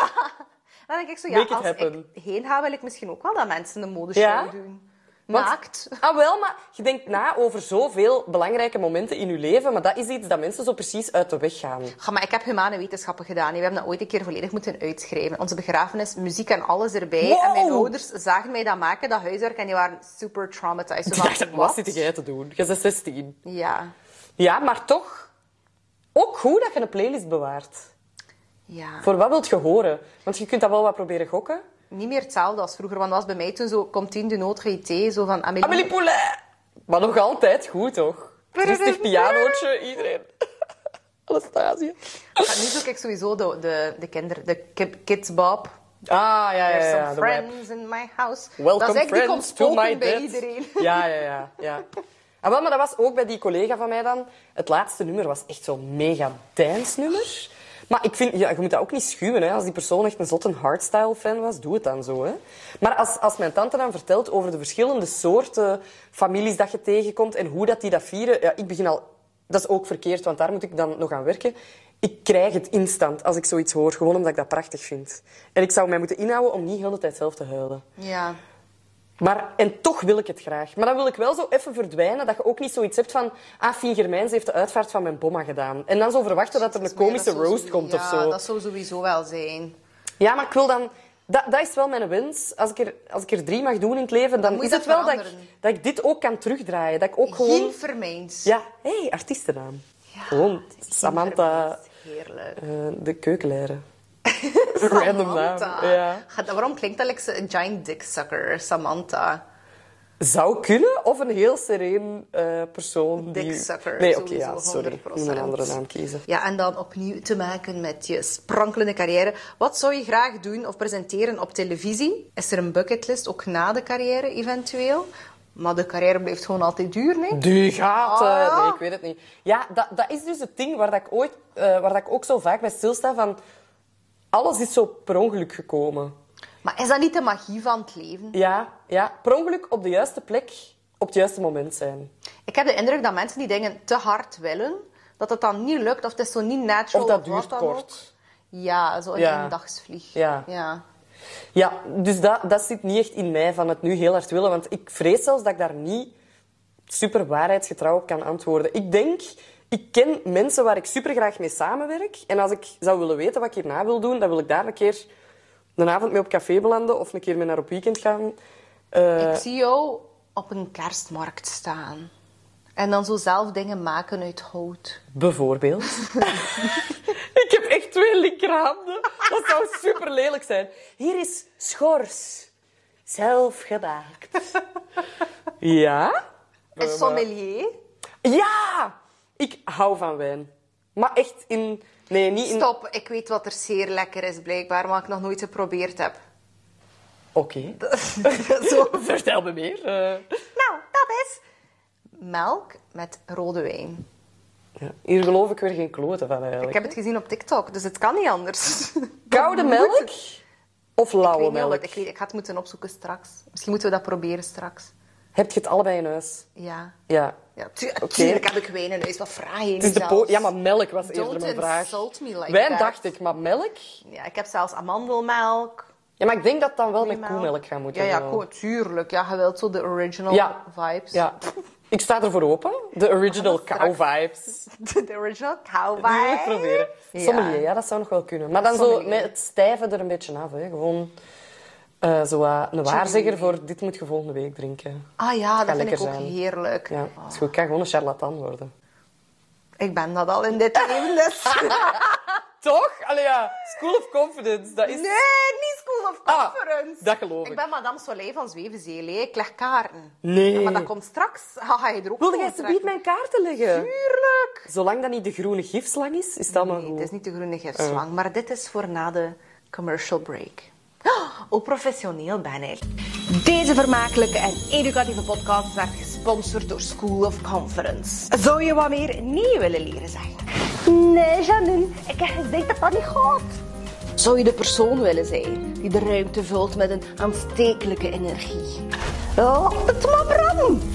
S3: Dan denk ik zo, ja,
S2: Make it
S3: als ik
S2: happen.
S3: heen ga, wil ik misschien ook wel dat mensen een modeshow
S2: Ja?
S3: doen.
S2: Want-
S3: Maakt.
S2: Ah, wel, maar je denkt na over zoveel belangrijke momenten in je leven, maar dat is iets dat mensen zo precies uit de weg gaan.
S3: Ja, maar ik heb humane wetenschappen gedaan. hè. We hebben dat ooit een keer volledig moeten uitschrijven. Onze begrafenis, muziek en alles erbij.
S2: Wow!
S3: En mijn ouders zagen mij dat maken, dat huiswerk, en die waren super traumatized. Zo
S2: Ik
S3: van,
S2: dacht, wat zit jij te doen? Je bent 16.
S3: Ja.
S2: Ja, maar toch ook goed dat je een playlist bewaart.
S3: Ja.
S2: Voor wat wilt je horen? Want je kunt dat wel wat proberen gokken.
S3: Niet meer hetzelfde als vroeger, want dat was bij mij toen zo... Komt in de noodgeïté, zo van... Amélie,
S2: Amélie Poulet! Maar nog altijd goed, toch? Rustig pianootje, iedereen. Anastasia.
S3: Maar nu zoek ik sowieso de, de, de kinder... De ki- Kids Bob.
S2: Ah, ja, ja, ja.
S3: There's
S2: ja,
S3: some
S2: de rap.
S3: friends in my house.
S2: Welcome
S3: dat is echt die komt
S2: friends to my
S3: spoken bij
S2: death.
S3: iedereen.
S2: Ja, ja, ja. ja. Ah, wel, maar dat was ook bij die collega van mij dan. Het laatste nummer was echt zo'n mega dance-nummer. Maar ik vind, ja, je moet dat ook niet schuwen. Hè. Als die persoon echt een zotte hardstyle-fan was, doe het dan zo. Hè. Maar als, als mijn tante dan vertelt over de verschillende soorten families dat je tegenkomt en hoe dat die dat vieren, ja, ik begin al... Dat is ook verkeerd, want daar moet ik dan nog aan werken. Ik krijg het instant als ik zoiets hoor, gewoon omdat ik dat prachtig vind. En ik zou mij moeten inhouden om niet heel de tijd zelf te huilen.
S3: Ja.
S2: Maar, en toch wil ik het graag. Maar dan wil ik wel zo even verdwijnen, dat je ook niet zoiets hebt van... Ah, Fien Germijns heeft de uitvaart van mijn bomma gedaan. En dan zo verwachten dat er een komische
S3: Ja, dat zou
S2: roast
S3: sowieso-
S2: komt of
S3: Ja,
S2: zo.
S3: dat zou sowieso wel zijn.
S2: Ja, maar ik wil dan... Dat, dat is wel mijn wens. Als ik, er, als ik er drie mag doen in het leven, dan
S3: moet
S2: is
S3: je
S2: het
S3: dat
S2: wel dat ik,
S3: veranderen.
S2: dat ik dit ook kan terugdraaien. Dat ik ook gewoon...
S3: Gien Vermeens.
S2: Ja, hé, hey, artiestennaam. gewoon
S3: Gien
S2: Samantha
S3: Vermeens. Heerlijk.
S2: eh, de keukenleider. Random naam.
S3: Samantha.
S2: Ja.
S3: Gaat- Waarom klinkt dat like een giant dick sucker, Samantha?
S2: Zou kunnen, of een heel sereen eh, persoon.
S3: Dick
S2: die...
S3: sucker,
S2: Nee, oké,
S3: sowieso,
S2: ja, sorry. Ik moet
S3: 100%.
S2: een andere naam kiezen.
S3: Ja, en dan opnieuw te maken met je sprankelende carrière. Wat zou je graag doen of presenteren op televisie? Is er een bucketlist, ook na de carrière eventueel? Maar de carrière blijft gewoon altijd duur, nee?
S2: Die gaat. eh,
S3: Ah, ja.
S2: Nee, ik weet het niet. Ja, dat, dat is dus het ding waar, dat ik, ooit, eh, waar dat ik ook zo vaak bij stilsta van... Alles is zo per ongeluk gekomen.
S3: Maar is dat niet de magie van het leven?
S2: Ja, ja. Per ongeluk op de juiste plek, op het juiste moment zijn.
S3: Ik heb de indruk dat mensen die dingen te hard willen, dat het dan niet lukt of het is zo niet natural
S2: Of dat
S3: wat
S2: duurt
S3: dan ook.
S2: kort.
S3: Ja, zo een
S2: Ja.
S3: eendagsvlieg.
S2: Ja.
S3: ja.
S2: Ja, dus dat, dat zit niet echt in mij van het nu heel hard willen. Want ik vrees zelfs dat ik daar niet super waarheidsgetrouw op kan antwoorden. Ik denk, ik ken mensen waar ik super graag mee samenwerk. En als ik zou willen weten wat ik hierna wil doen, dan wil ik daar een keer een avond mee op café belanden of een keer mee naar op weekend gaan. Eh,
S3: Ik zie jou op een kerstmarkt staan. En dan zo zelf dingen maken uit hout.
S2: Bijvoorbeeld. ik heb echt twee linkerhanden. Dat zou super lelijk zijn. Hier is schors. Zelf gemaakt. Ja? Eh,
S3: Een sommelier.
S2: Ja! Ik hou van wijn. Maar echt in... Nee, niet in...
S3: Stop, ik weet wat er zeer lekker is blijkbaar, maar ik nog nooit geprobeerd heb.
S2: Oké.
S3: zo.
S2: Vertel me meer. Eh,
S3: Nou, dat is melk met rode wijn.
S2: ja. Hier geloof ik weer geen kloten van eigenlijk.
S3: Ik heb het gezien op TikTok, dus het kan niet anders.
S2: Koude
S3: Dat moet
S2: melk
S3: het.
S2: of
S3: Ik weet
S2: lauwe
S3: niet of
S2: melk?
S3: het- Ik, weet, ik ga het moeten opzoeken straks. Misschien moeten we dat proberen straks.
S2: Heb je het allebei in huis?
S3: Ja.
S2: Ja.
S3: Ja, tu-
S2: Oké.
S3: tuurlijk heb ik wijn in huis. Wat fraai in
S2: Het is de po-
S3: zelfs.
S2: ja, maar melk was
S3: Don't
S2: eerder mijn vraag.
S3: insult me like
S2: Wijn
S3: that.
S2: dacht ik, maar melk?
S3: Ja, ik heb zelfs amandelmelk.
S2: Ja, maar ik denk dat het dan wel met
S3: Melk.
S2: koemelk gaan moeten.
S3: Ja, ja,
S2: wel.
S3: ko- tuurlijk. Ja, je wilt zo de original
S2: Ja.
S3: vibes.
S2: Ja. Ik sta ervoor open. De original
S3: Ah, dat
S2: cow
S3: is straks.
S2: vibes.
S3: De original cow
S2: Die wil
S3: vibes.
S2: ik proberen.
S3: Ja.
S2: Sommelier, ja, dat zou nog wel kunnen. Maar dan zo
S3: Sommelier.
S2: met het stijve er een beetje af. Hè. Gewoon eh, zo, wat een waarzegger voor dit moet je volgende week drinken.
S3: Ah ja, dat
S2: Gaat
S3: vind ik ook
S2: lekker zijn.
S3: heerlijk.
S2: Ja, is goed. Ik kan gewoon een charlatan worden.
S3: Ik ben dat al in dit leven, dus...
S2: Ah. Toch? Allee, ja. School of Confidence, dat is...
S3: Nee, niet School of Conference.
S2: Ah, dat geloof ik.
S3: Ik ben Madame Soleil van Zwevenzeel. hè. Ik leg kaarten.
S2: Nee.
S3: Ja, maar dat komt straks. Ha, ga je er ook
S2: Wilde
S3: voor
S2: jij alsjeblieft
S3: trekken?
S2: mijn kaarten leggen?
S3: Tuurlijk.
S2: Zolang dat niet de groene gifslang is, is dat maar
S3: Nee,
S2: goed. Eh.
S3: het is niet de groene gifslang, maar dit is voor na de commercial break. Oh, hoe professioneel ben ik. Deze vermakelijke en educatieve podcast werd gesponsord gesponsord door School of Conference. Zou je wat meer nee willen leren zeggen?
S5: Nee, Janine, ik denk dat dat niet gaat.
S3: Zou je de persoon willen zijn die de ruimte vult met een aanstekelijke energie? Oh,
S5: Laat het maar branden.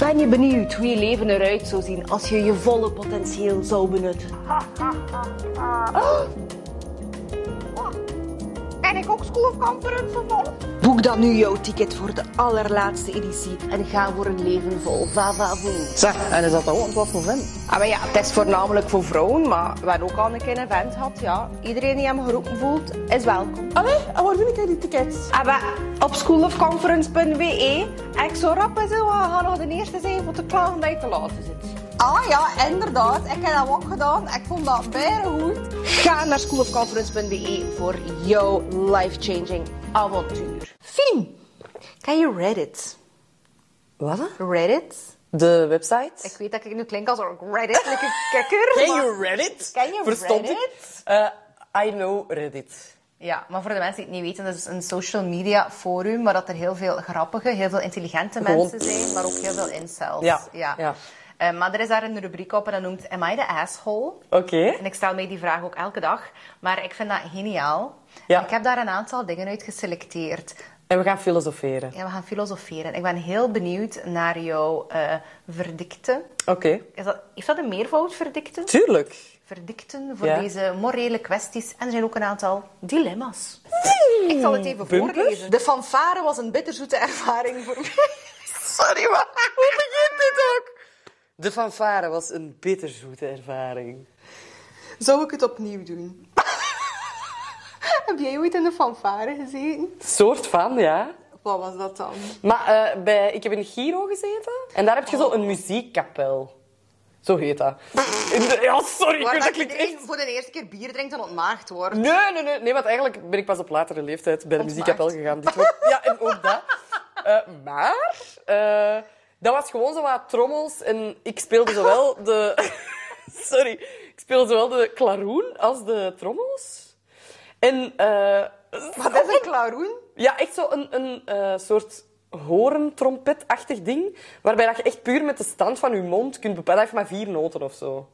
S3: Ben je benieuwd hoe je leven eruit zou zien als je je volle potentieel zou benutten?
S5: En ik ook School of Conference vol.
S3: Boek dan nu jouw ticket voor de allerlaatste editie en ga voor een leven vol vavavoen.
S6: Zeg, en is dat ook wat voor vent?
S3: Ah, maar ja, het is voornamelijk voor vrouwen, maar we hebben ook al een keer een vent gehad. Ja. Iedereen die hem geroepen voelt, is welkom.
S6: Allee, en waar vind ik die tickets?
S3: Ah, maar op schoolofconference.be. En ik zou rap en zo gaan nog de eerste zijn voor te klagen dat je te laat zit.
S5: Ah ja, inderdaad. Ik heb dat ook gedaan. Ik vond dat bijna goed.
S3: Ga naar schoolofconference.be voor jouw life-changing avontuur. Fien, ken je Reddit?
S2: Wat?
S3: Reddit?
S2: De website?
S3: Ik weet dat ik nu klink als een Reddit, like een kikker.
S2: Ken
S3: maar-
S2: je Reddit?
S3: Ken je
S2: Verstond
S3: Reddit?
S2: Ik? Eh, I know Reddit.
S3: Ja, maar voor de mensen die het niet weten, dat is een social media forum waar dat er heel veel grappige, heel veel intelligente
S2: Gewoon-
S3: mensen zijn, maar ook heel veel incels.
S2: Ja, ja.
S3: Eh, maar er is daar een rubriek op en dat noemt Am I the asshole?
S2: Oké.
S3: En ik stel mij die vraag ook elke dag, maar ik vind dat geniaal.
S2: Ja.
S3: En Ik heb daar een aantal dingen uit geselecteerd.
S2: En we gaan filosoferen.
S3: Ja, we gaan filosoferen. Ik ben heel benieuwd naar jouw eh, verdikte.
S2: Oké.
S3: Is dat, heeft dat een meervoud, verdikte?
S2: Tuurlijk.
S3: verdikten voor
S2: Ja.
S3: deze morele kwesties. En er zijn ook een aantal dilemma's. Ik zal het even
S2: Bumper?
S3: voorlezen. De fanfare was een bitterzoete ervaring voor mij. Sorry, maar hoe begint dit ook?
S2: De fanfare was een bitterzoete ervaring.
S3: Zou ik het opnieuw doen? Heb jij ooit in de fanfare gezeten?
S2: Soort van, ja.
S3: Wat was dat dan?
S2: Maar eh, bij, ik heb in Giro gezeten en daar heb je
S3: Oh.
S2: zo een muziekkapel. Zo heet dat. In de- ja, sorry, ik weet dat klinkt echt...
S3: voor de eerste keer bier drinkt en ontmaagd wordt.
S2: Nee, nee, nee, nee, want eigenlijk ben ik pas op latere leeftijd bij de muziekkapel gegaan. Dit wordt- ja, en ook dat. Eh, maar eh, dat was gewoon zo wat trommels en ik speelde zowel de... Sorry, ik speelde zowel de klaroen als de trommels. En... eh,
S3: Wat is een klaroen?
S2: Ja, echt zo een, een eh, soort horentrompetachtig ding. Waarbij dat je echt puur met de stand van je mond kunt bepalen. Dat heeft maar vier noten of zo.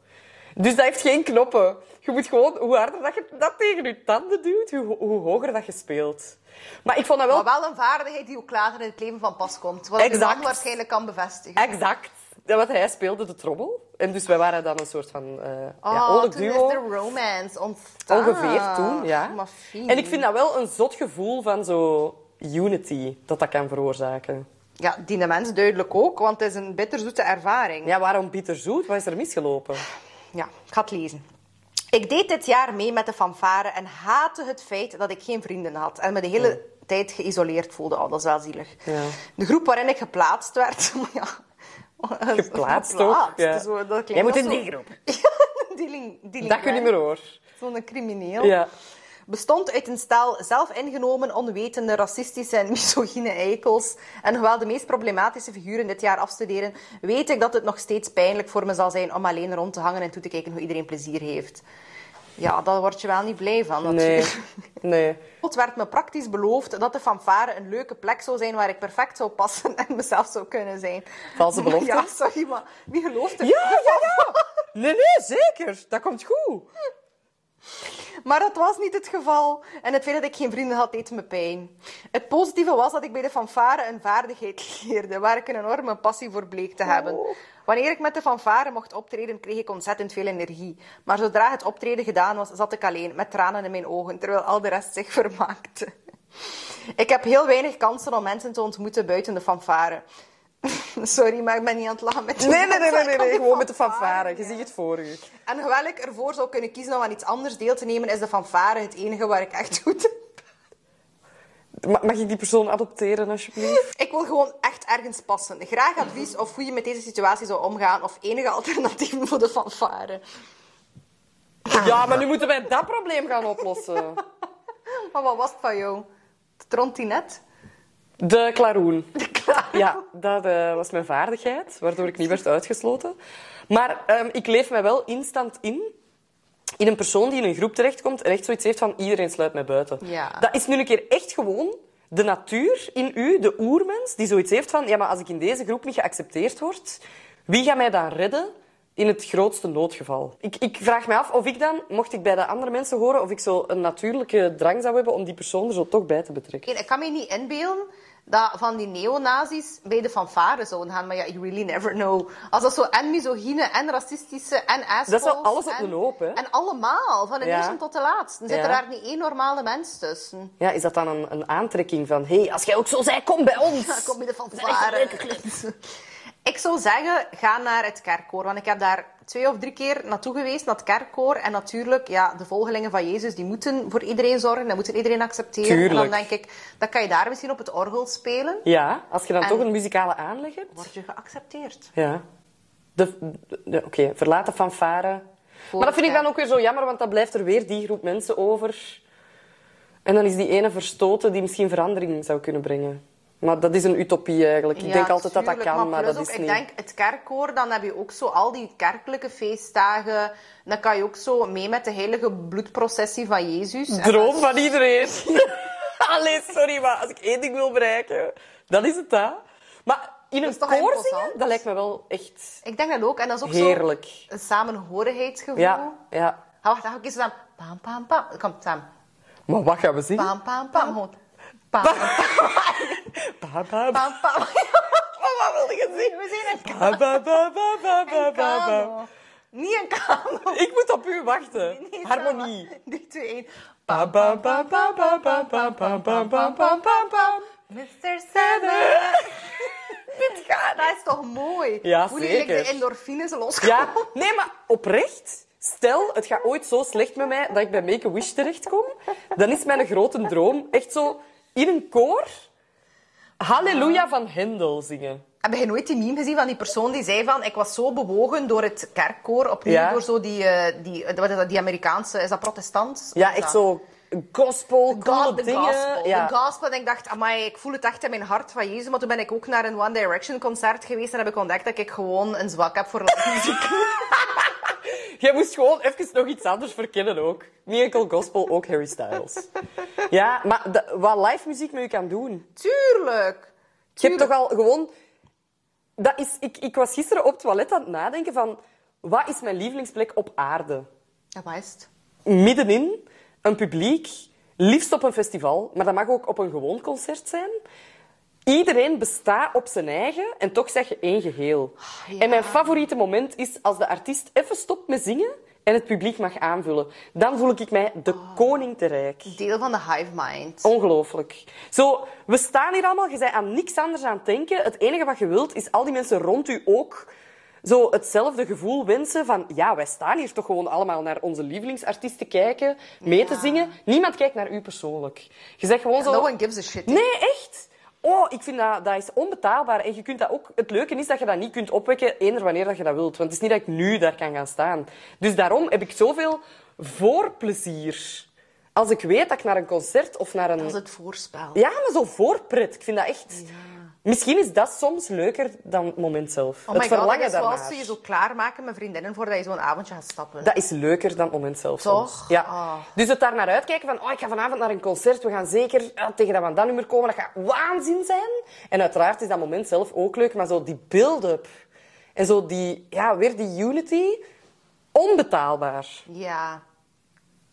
S2: Dus dat heeft geen knoppen. Je moet gewoon, hoe harder dat je dat tegen je tanden duwt, hoe, ho- hoe hoger dat je speelt. Maar ik vond dat wel...
S3: Maar wel een vaardigheid die ook later in het leven van pas komt. Wat de
S2: Exact.
S3: man waarschijnlijk kan bevestigen.
S2: Exact. Ja, Want hij speelde de trommel. En dus wij waren dan een soort van eh ja,
S3: Oh,
S2: oude
S3: toen
S2: duo.
S3: is de romance ontstaan.
S2: Ongeveer toen, ja.
S3: Ah, Maar fijn.
S2: En ik vind dat wel een zot gevoel van zo unity, dat dat kan veroorzaken.
S3: Ja, die de mens duidelijk ook, want het is een bitterzoete ervaring.
S2: Ja, waarom bitterzoet? Wat is er misgelopen?
S3: Ja, ik ga het lezen. Ik deed dit jaar mee met de fanfare en haatte het feit dat ik geen vrienden had. En me de hele tijd geïsoleerd voelde. Oh, dat is wel zielig.
S2: Ja.
S3: De groep waarin ik geplaatst werd... maar ja,
S2: Geplaatst ook, ja.
S3: Zo, dat klinkt
S2: Jij moet
S3: als
S2: in
S3: zo-
S2: die groep.
S3: Ja, die link, die link
S2: Dat kun je niet meer hoor.
S3: Zo'n crimineel.
S2: Ja.
S3: bestond uit een stel zelfingenomen, onwetende, racistische en misogyne eikels. En hoewel de meest problematische figuren dit jaar afstuderen, weet ik dat het nog steeds pijnlijk voor me zal zijn om alleen rond te hangen en toe te kijken hoe iedereen plezier heeft. Ja, daar word je wel niet blij van,
S2: Nee.
S3: natuurlijk.
S2: Nee.
S3: Het werd me praktisch beloofd dat de fanfare een leuke plek zou zijn waar ik perfect zou passen en mezelf zou kunnen zijn.
S2: Valse belofte?
S3: Ja, sorry, maar wie gelooft er?
S2: Ja, ja, ja. Nee, nee, zeker. Dat komt goed.
S3: Maar dat was niet het geval. En het feit dat ik geen vrienden had, deed me pijn. Het positieve was dat ik bij de fanfare een vaardigheid leerde, waar ik een enorme passie voor bleek te hebben.
S2: Oh.
S3: Wanneer ik met de fanfare mocht optreden, kreeg ik ontzettend veel energie. Maar zodra het optreden gedaan was, zat ik alleen, met tranen in mijn ogen, terwijl al de rest zich vermaakte. Ik heb heel weinig kansen om mensen te ontmoeten buiten de fanfare. Sorry, maar ik ben niet aan het lachen met die
S2: Nee, nee, nee, nee,
S3: mensen.
S2: nee,
S3: Ik kan die
S2: Gewoon met de
S3: fanfare
S2: fanfare. Je
S3: niet.
S2: ziet het voor je.
S3: En hoewel ik ervoor zou kunnen kiezen om aan iets anders deel te nemen, is de fanfare het enige waar ik echt goed in
S2: Ma- Mag ik die persoon adopteren, alsjeblieft?
S3: Ik wil gewoon echt ergens passen. Graag advies of hoe je met deze situatie zou omgaan of enige alternatieven voor de fanfare.
S2: Ja, maar nu moeten wij dat probleem gaan oplossen.
S3: Maar wat was het van jou? Het rond die net?
S2: De klaroen. Ja, dat eh, was mijn vaardigheid, waardoor ik niet werd uitgesloten. Maar ehm, ik leef mij wel instant in. In een persoon die in een groep terechtkomt en echt zoiets heeft van iedereen sluit mij buiten.
S3: Ja.
S2: Dat is nu een keer echt gewoon de natuur in u, de oermens, die zoiets heeft van... Ja, maar als ik in deze groep niet geaccepteerd word, wie gaat mij dan redden in het grootste noodgeval? Ik, ik vraag me af of ik dan, mocht ik bij de andere mensen horen, of ik zo een natuurlijke drang zou hebben om die persoon er zo toch bij te betrekken.
S3: Ik kan me niet inbeelden dat van die neonazis bij de fanfare zouden gaan. Maar ja, you really never know. Als dat zo en misogyne en racistische en assholes...
S2: Dat is wel alles op
S3: en-
S2: een hoop, hè?
S3: En allemaal, van de
S2: Ja.
S3: eerste tot de laatste. Dan zit
S2: Ja.
S3: er daar niet één normale mens tussen.
S2: Ja, is dat dan een, een aantrekking van... hey, als jij ook zo zei, kom bij ons!
S3: Dan kom je de fanfare. Ik zou zeggen, ga naar het kerkkoor. Want ik heb daar twee of drie keer naartoe geweest, naar het kerkkoor. En natuurlijk, ja, de volgelingen van Jezus, die moeten voor iedereen zorgen. Dat moeten iedereen accepteren. En dan
S2: Tuurlijk.
S3: denk ik, dan kan je daar misschien op het orgel spelen.
S2: Ja, als je dan
S3: En-
S2: toch een muzikale aanleg hebt.
S3: Word je geaccepteerd.
S2: Ja. De, de- de- Oké, verlaat de fanfare.
S3: Voor
S2: maar dat vind ik
S3: het
S2: dan ook weer zo jammer, want dan blijft er weer die groep mensen over. En dan is die ene verstoten die misschien verandering zou kunnen brengen. Maar dat is een utopie eigenlijk. Ik
S3: Ja,
S2: denk altijd dat dat
S3: tuurlijk,
S2: kan, maar,
S3: plus
S2: dat
S3: ook,
S2: is
S3: ik
S2: niet.
S3: denk, het kerkkoor, dan heb je ook zo al die kerkelijke feestdagen. Dan kan je ook zo mee met de heilige bloedprocessie van Jezus. En
S2: Droom
S3: dat-
S2: van iedereen. Allee, sorry, maar als ik één ding wil bereiken, dan is het dat. Maar in een
S3: is toch
S2: koor zingen,
S3: imposant?
S2: dat lijkt me wel echt
S3: Ik denk dat ook. En dat is ook
S2: heerlijk.
S3: zo een samenhorigheidsgevoel.
S2: Ja, ja.
S3: Ah, wacht, dan ga ik eens samen. Pam, pam, pam. Kom, samen.
S2: Maar wat gaan we zingen?
S3: Pam, pam, pam. Gewoon. Pam, pam,
S2: Ba, ba, ba.
S3: pam, pam.
S2: Wat wilde je zingen?
S3: We zijn
S2: Ba,
S3: een
S2: ba, ba, ba, ba, ba, ba, ba.
S3: kano. Niet een kano.
S2: Ik moet op u wachten.
S3: Nee,
S2: Harmonie.
S3: samen. Drie, twee, één.
S2: Ba, ba, ba, ba, ba, ba, ba, ba, ba, ba, ba, ba, ba.
S3: Mr. Seven. Dit gaat. Dat is toch mooi?
S2: Ja,
S3: Hoe die
S2: zeker.
S3: de endorfines loskomen.
S2: Ja, nee, maar oprecht. Stel, het gaat ooit zo slecht met mij dat ik bij Make-A-Wish terechtkom. Dan is mijn grote droom echt zo in een koor Halleluja van Hendel zingen.
S3: Heb je nooit die meme gezien van die persoon die zei van... Ik was zo bewogen door het kerkkoor, opnieuw
S2: Ja.
S3: door zo die, eh, die, eh, wat is dat, die Amerikaanse... Is dat protestant?
S2: Ja,
S3: Of is
S2: echt
S3: dat-
S2: zo gospel, coole
S3: God, de
S2: dingen.
S3: gospel.
S2: eh, Ja.
S3: De gospel. En ik dacht, amai, ik voel het echt in mijn hart van Jezus. Maar toen ben ik ook naar een One Direction concert geweest en heb ik ontdekt dat ik gewoon een zwak heb voor muziek.
S2: Jij moest gewoon even nog iets anders verkennen ook. Niet enkel gospel, ook Harry Styles. Ja, maar da- wat live muziek met u kan doen...
S3: Tuurlijk!
S2: Je hebt toch al gewoon... Dat is, ik, ik was gisteren op het toilet aan het nadenken van... Wat is mijn lievelingsplek op aarde?
S3: Ja, wat is het?
S2: Middenin, een publiek, liefst op een festival. Maar dat mag ook op een gewoon concert zijn. Iedereen bestaat op zijn eigen en toch zeg je één geheel.
S3: ja.
S2: En mijn favoriete moment is als de artiest even stopt met zingen en het publiek mag aanvullen. Dan voel ik mij de koning te rijk.
S3: Deel van de hive mind.
S2: Oh, Ongelooflijk. Zo, we staan hier allemaal, je bent aan niks anders aan het denken. Het enige wat je wilt is al die mensen rond u ook zo hetzelfde gevoel wensen van ja, wij staan hier toch gewoon allemaal naar onze lievelingsartiest te kijken, mee te zingen. Niemand kijkt naar u persoonlijk. Je zegt gewoon zo...
S3: No one gives a shit.
S2: Nee, echt? Oh, ik vind dat, dat is onbetaalbaar. En je kunt dat ook, het leuke is dat je dat niet kunt opwekken eender wanneer dat je dat wilt. Want het is niet dat ik nu daar kan gaan staan. Dus daarom heb ik zoveel voorplezier. Als ik weet dat ik naar een concert of naar
S3: Dat is
S2: een...
S3: het voorspel.
S2: Ja, maar zo voorpret. Ik vind dat echt... Misschien is dat soms leuker dan het moment zelf.
S3: Oh my
S2: het verlangen
S3: god, dat is
S2: daarnaar.
S3: zoals ze je zo klaarmaken met vriendinnen voordat je zo'n avondje gaat stappen.
S2: Dat is leuker dan het moment zelf.
S3: Toch?
S2: soms. Ja.
S3: Ah.
S2: Dus het daar naar uitkijken van, oh, ik ga vanavond naar een concert, we gaan zeker ah, tegen dat van dat nummer komen, dat gaat waanzin zijn. En uiteraard is dat moment zelf ook leuk, maar zo die build-up en zo die, ja, weer die unity, onbetaalbaar.
S3: Ja.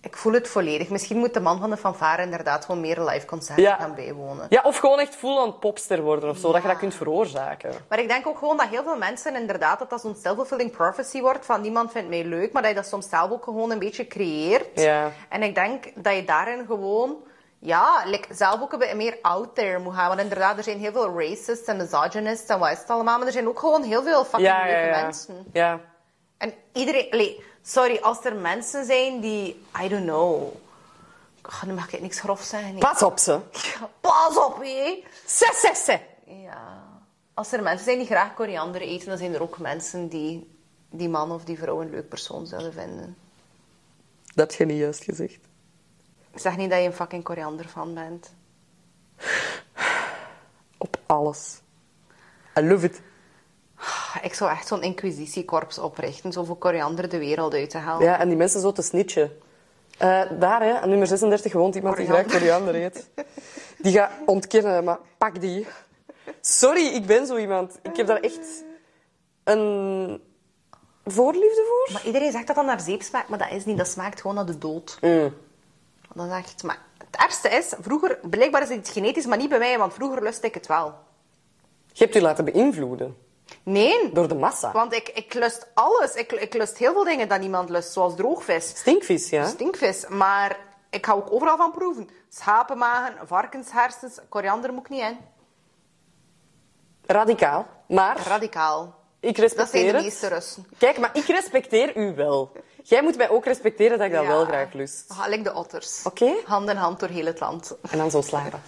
S3: Ik voel het volledig. Misschien moet de man van de fanfare inderdaad gewoon meer live concerten
S2: Ja.
S3: gaan bijwonen.
S2: Ja, of gewoon echt full-on popster worden of zo, dat je dat kunt veroorzaken.
S3: Maar ik denk ook gewoon dat heel veel mensen inderdaad dat dat zo'n self-fulfilling prophecy wordt van niemand vindt mij leuk, maar dat je dat soms zelf ook gewoon een beetje creëert.
S2: Ja.
S3: En ik denk dat je daarin gewoon ja, like, zelf ook een beetje meer out there moet gaan. Want inderdaad, er zijn heel veel racists en misogynists en wat is het allemaal, maar er zijn ook gewoon heel veel fucking
S2: Ja, ja,
S3: leuke
S2: ja.
S3: mensen.
S2: ja.
S3: En iedereen... allee, sorry, als er mensen zijn die... I don't know. Oh, nu mag ik niks grof zeggen. hè.
S2: Pas op ze.
S3: Pas op, hé.
S2: Se, se, se.
S3: Ja. Als er mensen zijn die graag koriander eten, dan zijn er ook mensen die die man of die vrouw een leuk persoon zouden vinden.
S2: Dat heb je niet juist gezegd.
S3: Ik zeg niet dat je een fucking koriander fan bent.
S2: Op alles. I love it.
S3: Ik zou echt zo'n inquisitiekorps oprichten, zo voor koriander de wereld uit te halen.
S2: Ja, en die mensen zo te snitchen. Eh, daar, hè, aan nummer 36 woont iemand die graag
S3: Koriander.
S2: koriander eet. Die gaat ontkennen, maar pak die. Sorry, ik ben zo iemand. Ik heb daar echt een voorliefde voor.
S3: Maar iedereen zegt dat dat naar zeep smaakt, maar dat is niet. Dat smaakt gewoon naar de dood. Dat is echt... Maar het ergste is, vroeger... Blijkbaar is het genetisch, maar niet bij mij, want vroeger lustte ik het wel.
S2: Je hebt je laten beïnvloeden
S3: Nee,
S2: door de massa.
S3: want ik, ik lust alles. Ik, ik lust heel veel dingen dat niemand lust, zoals droogvis.
S2: Stinkvis, ja.
S3: Stinkvis, maar ik ga ook overal van proeven. Schapenmagen, varkenshersens, koriander moet ik niet in.
S2: Radicaal. Maar
S3: Radicaal.
S2: ik
S3: Dat zijn de
S2: respecteer het.
S3: meeste Russen.
S2: Kijk, maar ik respecteer u wel. Jij moet mij ook respecteren dat ik dat
S3: Ja.
S2: wel graag lust.
S3: Ah, like de otters.
S2: Oké.
S3: Hand in hand door heel het land.
S2: En dan zo slapen.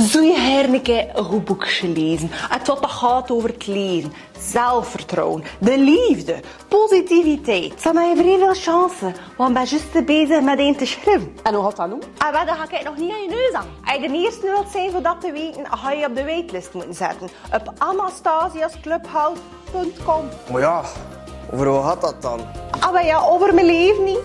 S5: Zo je herneke een goed boek gelezen. Het wat dat gaat over het leven, zelfvertrouwen, de liefde, positiviteit. Dan heb je vrij veel chance, want ik ben juist bezig met één te schrijven.
S6: En hoe gaat dat doen?
S5: En wel, dan ga ik het nog niet aan je neus aan. Als je de eerste wilt zijn voor dat te weten, ga je je op de waitlist moeten zetten. Op anastasiasclubhouse.com.
S7: Maar ja, over wat gaat dat dan?
S5: Ah, maar ja, over mijn leven niet.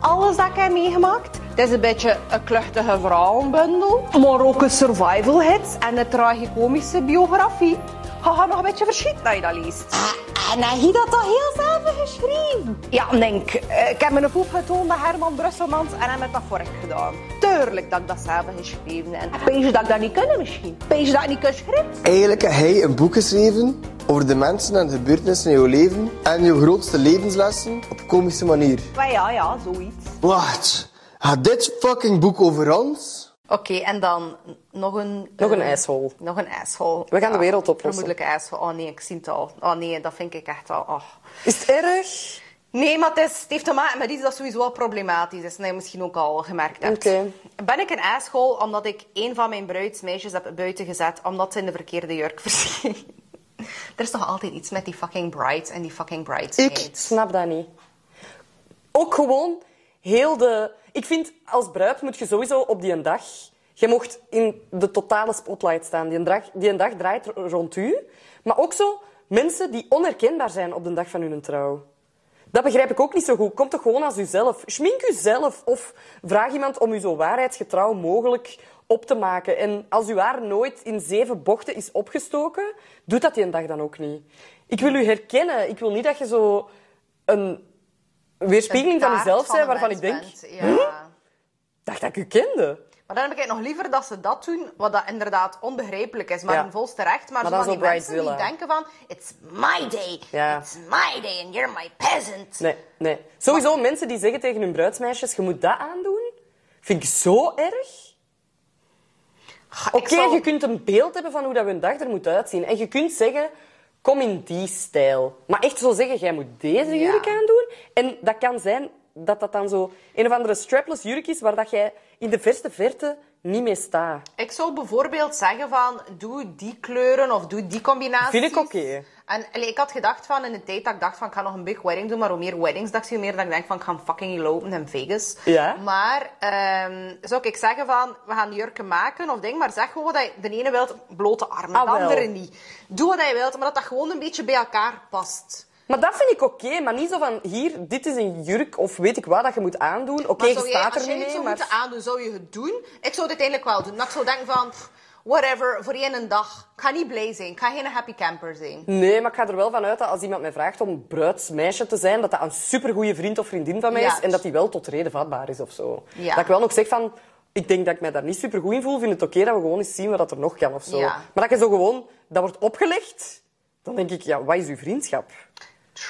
S5: Alles dat ik heb meegemaakt. Het is een beetje een kluchtige vrouwenbundel. Maar ook een survival hit en een tragicomische biografie. Ga gaan nog een beetje verschieten als je dat leest.
S3: Ah,
S5: En heb je dat toch heel zelf geschreven? Ja, denk. eh, Ik heb mijn poep getoond bij Herman Brusselmans en heb het dat voor ik gedaan. Tuurlijk dat ik dat zelf geschreven heb. Pees je dat ik dat niet kan misschien? Pees je dat ik niet kan schrijven?
S7: Eigenlijk heb jij een boek geschreven over de mensen en de gebeurtenissen in jouw leven en je grootste levenslessen op komische manier.
S5: Maar ja, ja, zoiets.
S7: Wat? Gaat dit fucking boek over ons?
S3: Oké, en dan nog een...
S2: Nog een
S3: eh,
S2: ijshol.
S3: Nog een ijshol.
S2: We gaan de wereld oplossen.
S3: Vermoedelijk ijshol. Oh nee, ik zie het al. Oh nee, dat vind ik echt al... Oh.
S2: Is het erg?
S3: Nee, maar het, is, het heeft te maken met iets dat sowieso al problematisch is. En dat je misschien ook al gemerkt hebt.
S2: Oké.
S3: Ben ik een ijschool omdat ik een van mijn bruidsmeisjes heb buiten gezet omdat ze in de verkeerde jurk verscheen? er is toch altijd iets met die fucking brides en die fucking
S2: Ik
S3: bridesmaids.
S2: snap dat niet. Ook gewoon heel de... Ik vind, als bruid moet je sowieso op die een dag... Je mocht in de totale spotlight staan. Die een dag, die een dag draait r- rond u. Maar ook zo mensen die onherkenbaar zijn op de dag van hun trouw. Dat begrijp ik ook niet zo goed. Kom toch gewoon als uzelf. Schmink uzelf of vraag iemand om u zo waarheidsgetrouw mogelijk op te maken. En als uw haar nooit in zeven bochten is opgestoken, doet dat die een dag dan ook niet. Ik wil u herkennen. Ik wil niet dat je zo een weerspiegeling van
S3: Taart
S2: jezelf bent
S3: een
S2: waarvan ik
S3: mens
S2: denk,
S3: bent, Ja.
S2: dacht dat ik u kende.
S3: Maar dan heb ik het nog liever dat ze dat doen, wat dat inderdaad onbegrijpelijk is, maar
S2: Ja.
S3: in volste recht.
S2: Maar
S3: Maar, zo
S2: dan
S3: van
S2: zo
S3: die mensen die
S2: bridezilla.
S3: denken van, it's my day,
S2: Ja.
S3: it's my day and you're my peasant.
S2: Nee, nee. Sowieso mensen die zeggen tegen hun bruidsmeisjes, je moet dat aandoen, vind ik zo erg.
S3: Ga, ik
S2: Oké,
S3: zal-
S2: je kunt een beeld hebben van hoe dat een dag er moet uitzien. En je kunt zeggen, kom in die stijl. Maar echt zo zeggen, jij moet deze
S3: Ja.
S2: jurk aandoen. En dat kan zijn dat dat dan zo een of andere strapless jurk is waar dat jij in de verste verte niet mee staat.
S3: Ik zou bijvoorbeeld zeggen van, doe die kleuren of doe die combinaties.
S2: Vind ik oké.
S3: En allee, ik had gedacht van, in de tijd dat ik dacht van, ik ga nog een big wedding doen, maar hoe meer weddings dat ik zie, hoe meer dat ik denk van, ik ga fucking lopen in Vegas.
S2: Ja.
S3: Maar ehm, zou ik zeggen van, we gaan jurken maken of ding, maar zeg gewoon wat je, de ene wilt blote armen,
S2: Ah,
S3: de
S2: wel.
S3: andere niet. Doe wat je wilt, maar dat dat gewoon een beetje bij elkaar past.
S2: Maar dat vind ik oké, maar niet zo van hier, dit is een jurk of weet ik wat dat je moet aandoen. Oké, je
S3: zou jij-
S2: staat
S3: als
S2: er
S3: jij
S2: niet mee,
S3: het zou
S2: maar...
S3: moeten aandoen, zou je het doen? Ik zou het uiteindelijk wel doen. Dat ik zou denken van, pff, whatever, voor één dag. Ik ga niet blij zijn, ik ga geen happy camper zijn.
S2: Nee, maar ik ga er wel van uit dat als iemand mij vraagt om bruidsmeisje te zijn, dat dat een supergoeie vriend of vriendin van mij
S3: Ja.
S2: is en dat die wel tot reden vatbaar is of zo.
S3: Ja.
S2: Dat ik wel nog zeg van, ik denk dat ik mij daar niet supergoed in voel, vind het oké dat we gewoon eens zien wat dat er nog kan of zo.
S3: Ja.
S2: Maar dat je zo gewoon, dat wordt opgelegd, dan denk ik, ja, wat is uw vriendschap?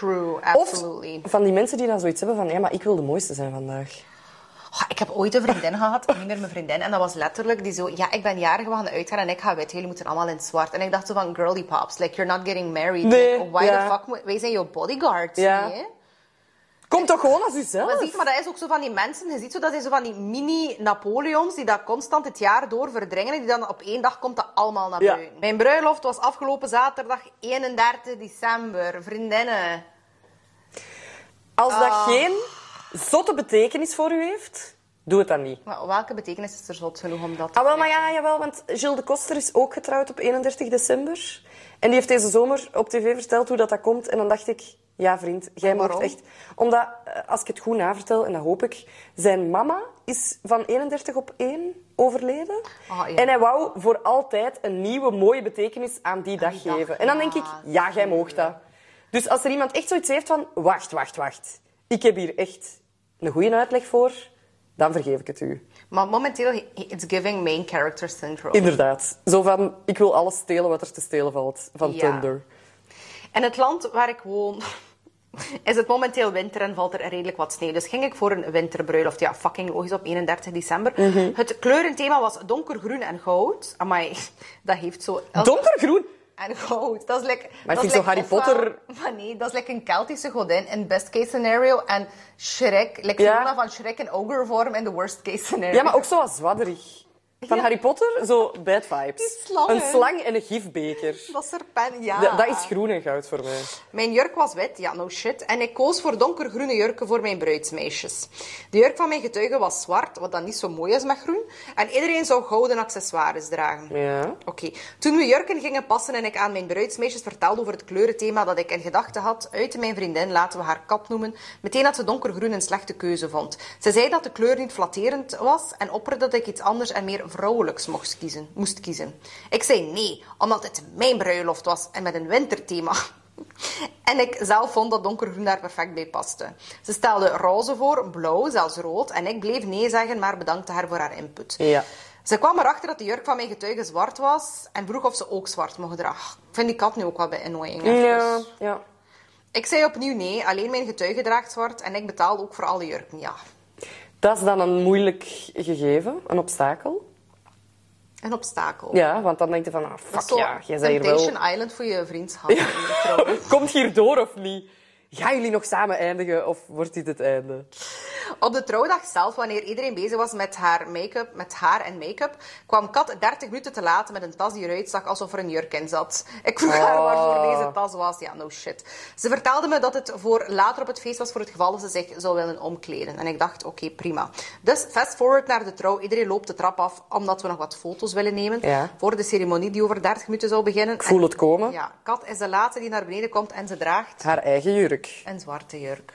S3: True,
S2: Of van die mensen die dan zoiets hebben van, ja, maar ik wil de mooiste zijn vandaag.
S3: Goh, ik heb ooit een vriendin gehad, niet meer mijn vriendin, en dat was letterlijk die zo, ja, ik ben jarig, we gaan uitgaan en ik ga wit, jullie moeten allemaal in het zwart. En ik dacht zo van, girly pops, like, you're not getting married.
S2: Nee,
S3: Like, why
S2: ja.
S3: the fuck, moet- wij zijn jouw bodyguards,
S2: Ja.
S3: nee?
S2: Kom toch gewoon als uzelf.
S3: Maar, ziet, maar dat is ook zo van die mensen, je ziet zo, dat zijn zo van die mini-Napoleons die dat constant het jaar door verdringen en die dan op één dag komt dat allemaal naar
S2: Ja.
S3: buiten. Mijn bruiloft was afgelopen zaterdag 31 december, vriendinnen.
S2: Als dat geen zotte betekenis voor u heeft, doe het dan niet.
S3: Maar welke betekenis is er zot genoeg om dat te
S2: Ah, wel, maar ja, jawel, want Gilles de Koster is ook getrouwd op 31 december. En die heeft deze zomer op tv verteld hoe dat, dat komt. En dan dacht ik, ja vriend, jij
S3: Waarom?
S2: mocht echt... Omdat, eh, als ik het goed navertel, en dat hoop ik, zijn mama is van 31 op 1 overleden.
S3: Ah, ja.
S2: En hij wou voor altijd een nieuwe mooie betekenis aan die dag
S3: dag,
S2: geven. en dan
S3: ja,
S2: denk ik, ja, jij moogt dat. Dus als er iemand echt zoiets heeft van, wacht, wacht, wacht. Ik heb hier echt een goede uitleg voor, dan vergeef ik het u.
S3: Maar momenteel, he- it's giving main character syndrome.
S2: Inderdaad. Zo van, ik wil alles stelen wat er te stelen valt van
S3: Ja.
S2: Thunder.
S3: En het land waar ik woon is het momenteel winter en valt er redelijk wat sneeuw. Dus ging ik voor een winterbruiloft. Ja, fucking logisch op 31 december.
S2: Mhm.
S3: Het kleurenthema was donkergroen en goud. Amai, dat heeft zo... als-
S2: Donkergroen?
S3: En goud. Dat is lekker...
S2: Maar
S3: dat
S2: ik
S3: is
S2: vind zo
S3: like
S2: Harry
S3: ofwel-
S2: Potter-
S3: Maar nee, dat is lekker een Keltische godin in best case scenario. En Shrek, like
S2: Ja.
S3: Fiona van Shrek in ogre vorm in the worst case scenario.
S2: Ja, maar ook zo wat zwadderig. Van
S3: Ja.
S2: Harry Potter, zo bad vibes.
S3: Die Ah. slangen.
S2: Een slang en een gifbeker.
S3: Dat serpent, ja.
S2: Da- Dat is groen en goud voor mij.
S3: Mijn jurk was wit, ja, no shit. En ik koos voor donkergroene jurken voor mijn bruidsmeisjes. De jurk van mijn getuige was zwart, wat dan niet zo mooi is met groen. En iedereen zou gouden accessoires dragen.
S2: Ja.
S3: Oké. Toen we jurken gingen passen en ik aan mijn bruidsmeisjes vertelde over het kleurenthema dat ik in gedachten had, uitte mijn vriendin, laten we haar kat noemen, meteen dat ze donkergroen een slechte keuze vond. Ze zei dat de kleur niet flatterend was en opperde dat ik iets anders en meer vrouwelijks mocht kiezen, moest kiezen. Ik zei nee, omdat het mijn bruiloft was en met een winterthema. En ik zelf vond dat donkergroen daar perfect bij paste. Ze stelde roze voor, blauw, zelfs rood. En ik bleef nee zeggen, maar bedankte haar voor haar input.
S2: Ja.
S3: Ze kwam erachter dat de jurk van mijn getuige zwart was en vroeg of ze ook zwart mocht dragen. Ik vind die kat nu ook wel bij annoying. even.
S2: Ja, ja.
S3: Ik zei opnieuw nee, alleen mijn getuige draagt zwart en ik betaalde ook voor alle jurken, ja.
S2: Dat is dan een moeilijk gegeven, een obstakel.
S3: Een obstakel.
S2: Ja, want dan denk je van, ah, fuck
S3: Zo,
S2: ja, jij bent hier wel...
S3: Temptation Island voor je vriendschap. in de trouwen.
S2: Komt hier door of niet? Gaan jullie nog samen eindigen of wordt dit het einde?
S3: Op de trouwdag zelf, wanneer iedereen bezig was met haar, make-up, met haar en make-up, kwam Kat 30 minuten te laat met een tas die eruit zag alsof er een jurk in zat. Ik vroeg haar
S2: Oh.
S3: waarvoor deze tas was. Ja, no shit. Ze vertelde me dat het voor later op het feest was voor het geval dat ze zich zou willen omkleden. En ik dacht, oké, prima. Dus fast forward naar de trouw. Iedereen loopt de trap af omdat we nog wat foto's willen nemen
S2: Ja.
S3: voor de ceremonie die over 30 minuten zou beginnen.
S2: Ik voel het komen.
S3: Ja, Kat is de laatste die naar beneden komt en ze draagt
S2: Haar eigen jurk.
S3: een zwarte jurk.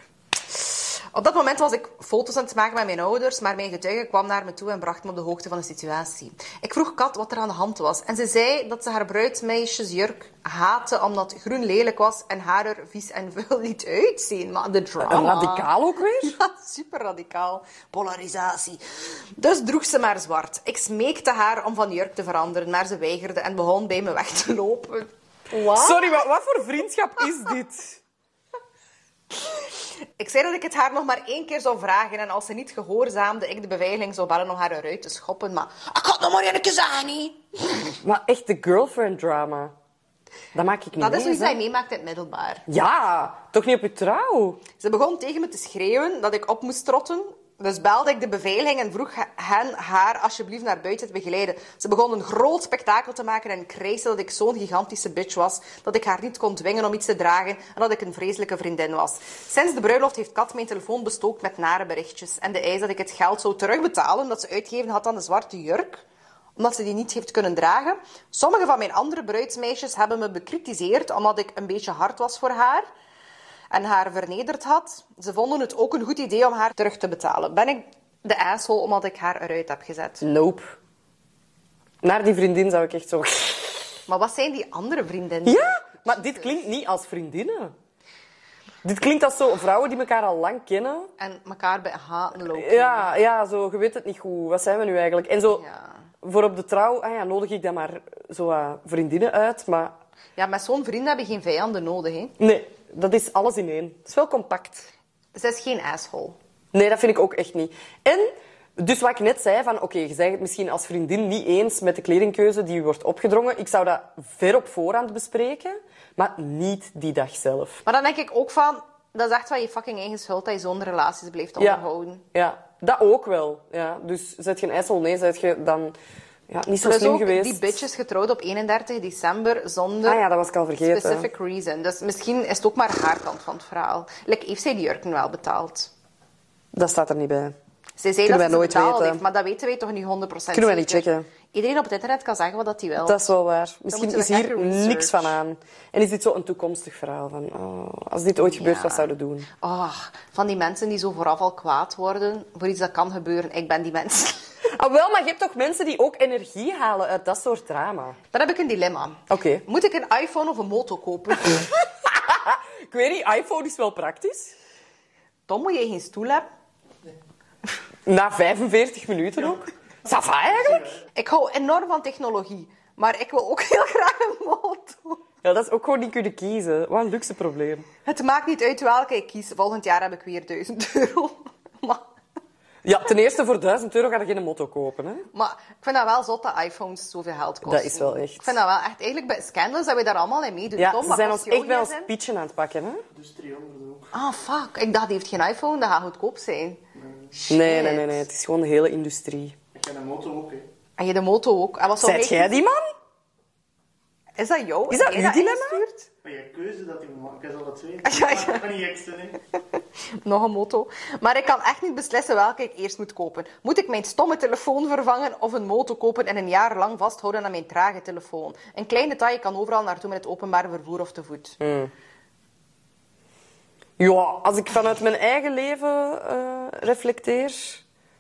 S3: Op dat moment was ik foto's aan het maken met mijn ouders, maar mijn getuige kwam naar me toe en bracht me op de hoogte van de situatie. Ik vroeg Kat wat er aan de hand was en ze zei dat ze haar bruidsmeisjesjurk haatte omdat groen lelijk was en haar er vies en vuil liet uitzien. Maar de
S2: Een
S3: drama...
S2: radicaal ook weer?
S3: Ja, super radicaal. Polarisatie. Dus droeg ze maar zwart. Ik smeekte haar om van jurk te veranderen, maar ze weigerde en begon bij me weg te lopen. Wat?
S2: Sorry, wat, wat voor vriendschap is dit?
S3: Ik zei dat ik het haar nog maar één keer zou vragen. En als ze niet gehoorzaamde, ik de beveiliging zou bellen om haar eruit te schoppen. Maar ik had nog maar één keer zeggen, niet.
S2: Maar echt de girlfriend drama. Dat maak ik niet
S3: Dat is
S2: mee,
S3: zoiets
S2: hè.
S3: dat je meemaakt in het middelbaar.
S2: Ja, toch niet op je trouw?
S3: Ze begon tegen me te schreeuwen dat ik op moest trotten. Dus belde ik de beveiliging en vroeg hen haar alsjeblieft naar buiten te begeleiden. Ze begon een groot spektakel te maken en krijste dat ik zo'n gigantische bitch was, dat ik haar niet kon dwingen om iets te dragen en dat ik een vreselijke vriendin was. Sinds de bruiloft heeft Kat mijn telefoon bestookt met nare berichtjes en de eis dat ik het geld zou terugbetalen dat ze uitgeven had aan de zwarte jurk omdat ze die niet heeft kunnen dragen. Sommige van mijn andere bruidsmeisjes hebben me bekritiseerd omdat ik een beetje hard was voor haar en haar vernederd had. Ze vonden het ook een goed idee om haar terug te betalen. Ben ik de asshole omdat ik haar eruit heb gezet?
S2: Nope. Naar die vriendin zou ik echt zo...
S3: Maar wat zijn die andere vriendinnen?
S2: Ja, maar dit klinkt niet als vriendinnen. Dit klinkt als zo vrouwen die elkaar al lang kennen.
S3: En elkaar bij haten lopen.
S2: Ja, ja, zo, je weet het niet goed. Wat zijn we nu eigenlijk? En zo,
S3: Ja.
S2: voor op de trouw, ah ja, nodig ik dan maar zo wat vriendinnen uit. Maar
S3: Ja, met zo'n vriend heb je geen vijanden nodig. Hè?
S2: nee, dat is alles in één. Het is wel compact.
S3: Ze is geen asshole.
S2: Nee, dat vind ik ook echt niet. En, dus wat ik net zei, van oké, je bent het misschien als vriendin niet eens met de kledingkeuze die je wordt opgedrongen. Ik zou dat ver op voorhand bespreken, maar niet die dag zelf.
S3: Maar dan denk ik ook van... Dat is echt van je fucking eigen schuld dat je zo'n relaties blijft onderhouden.
S2: ja, dat ook wel. Ja. Dus zet je een IJssel, nee, zet je dan ja, niet zo
S3: Dus
S2: slim
S3: ook
S2: geweest.
S3: die bitches getrouwd op 31 december zonder...
S2: Ah ja, dat was ik al vergeten.
S3: Specific reason. Dus misschien is het ook maar haar kant van het verhaal. Like, heeft zij die jurken wel betaald?
S2: Dat staat er niet bij.
S3: Zij zei
S2: Kunnen wij
S3: dat ze ze
S2: nooit
S3: betaald
S2: weten.
S3: heeft, maar dat weten wij toch niet 100%
S2: Kunnen wij niet
S3: zeker?
S2: checken.
S3: Iedereen op het internet kan zeggen wat dat hij wil.
S2: Dat is wel waar. Misschien
S3: moeten
S2: is
S3: we echt
S2: hier
S3: research.
S2: niks van aan. En is dit zo een toekomstig verhaal van, oh, als dit ooit gebeurt,
S3: Ja.
S2: wat zouden we doen?
S3: Ah, van die mensen die zo vooraf al kwaad worden voor iets dat kan gebeuren. Ik ben die mens.
S2: Ah, wel, maar je hebt toch mensen die ook energie halen uit dat soort drama?
S3: Dan heb ik een dilemma.
S2: Oké.
S3: Moet ik een iPhone of een moto kopen?
S2: Ik weet niet, iPhone is wel praktisch.
S3: Dan moet je geen stoel hebben.
S2: Na 45 minuten ook. Sava eigenlijk?
S3: Ik hou enorm van technologie, maar ik wil ook heel graag een moto.
S2: Ja, dat is ook gewoon niet kunnen kiezen. Wat een luxe probleem.
S3: Het maakt niet uit welke ik kies. Volgend jaar heb ik weer 1000 euro. Maar,
S2: Ja, ten eerste voor 1000 euro ga je geen motto kopen. Hè?
S3: maar ik vind dat wel zot dat iPhones zoveel geld kosten.
S2: Dat is wel echt.
S3: Ik vind dat wel echt. Eigenlijk bij Scandals dat we daar allemaal in meedoen.
S2: Ja,
S3: Tom,
S2: ze
S3: wat
S2: zijn
S3: kost
S2: ons
S3: jouw
S2: echt wel
S3: gsm?
S2: speechen aan het pakken. Hè?
S8: Dus
S3: Ah, fuck. Ik dacht, die heeft geen iPhone. Dat gaat goedkoop zijn. Shit.
S2: Nee, nee, nee, nee. Het is gewoon de hele industrie.
S3: En je de moto ook. En wat zou
S2: Zijt
S3: jij-
S2: jij die man?
S3: Is dat jou?
S2: Is dat
S3: Heb jij
S2: uw dilemma?
S3: ingestuurd?
S8: Maar je keuze dat hij maakt, is al dat twee.
S3: Ja, ja.
S8: Maar niet extra, hè.
S3: Nog een motto. Maar ik kan echt niet beslissen welke ik eerst moet kopen. Moet ik mijn stomme telefoon vervangen of een moto kopen en een jaar lang vasthouden aan mijn trage telefoon? Een klein detail kan overal naartoe met het openbaar vervoer of te voet.
S2: Ja, als ik vanuit mijn eigen leven eh, reflecteer,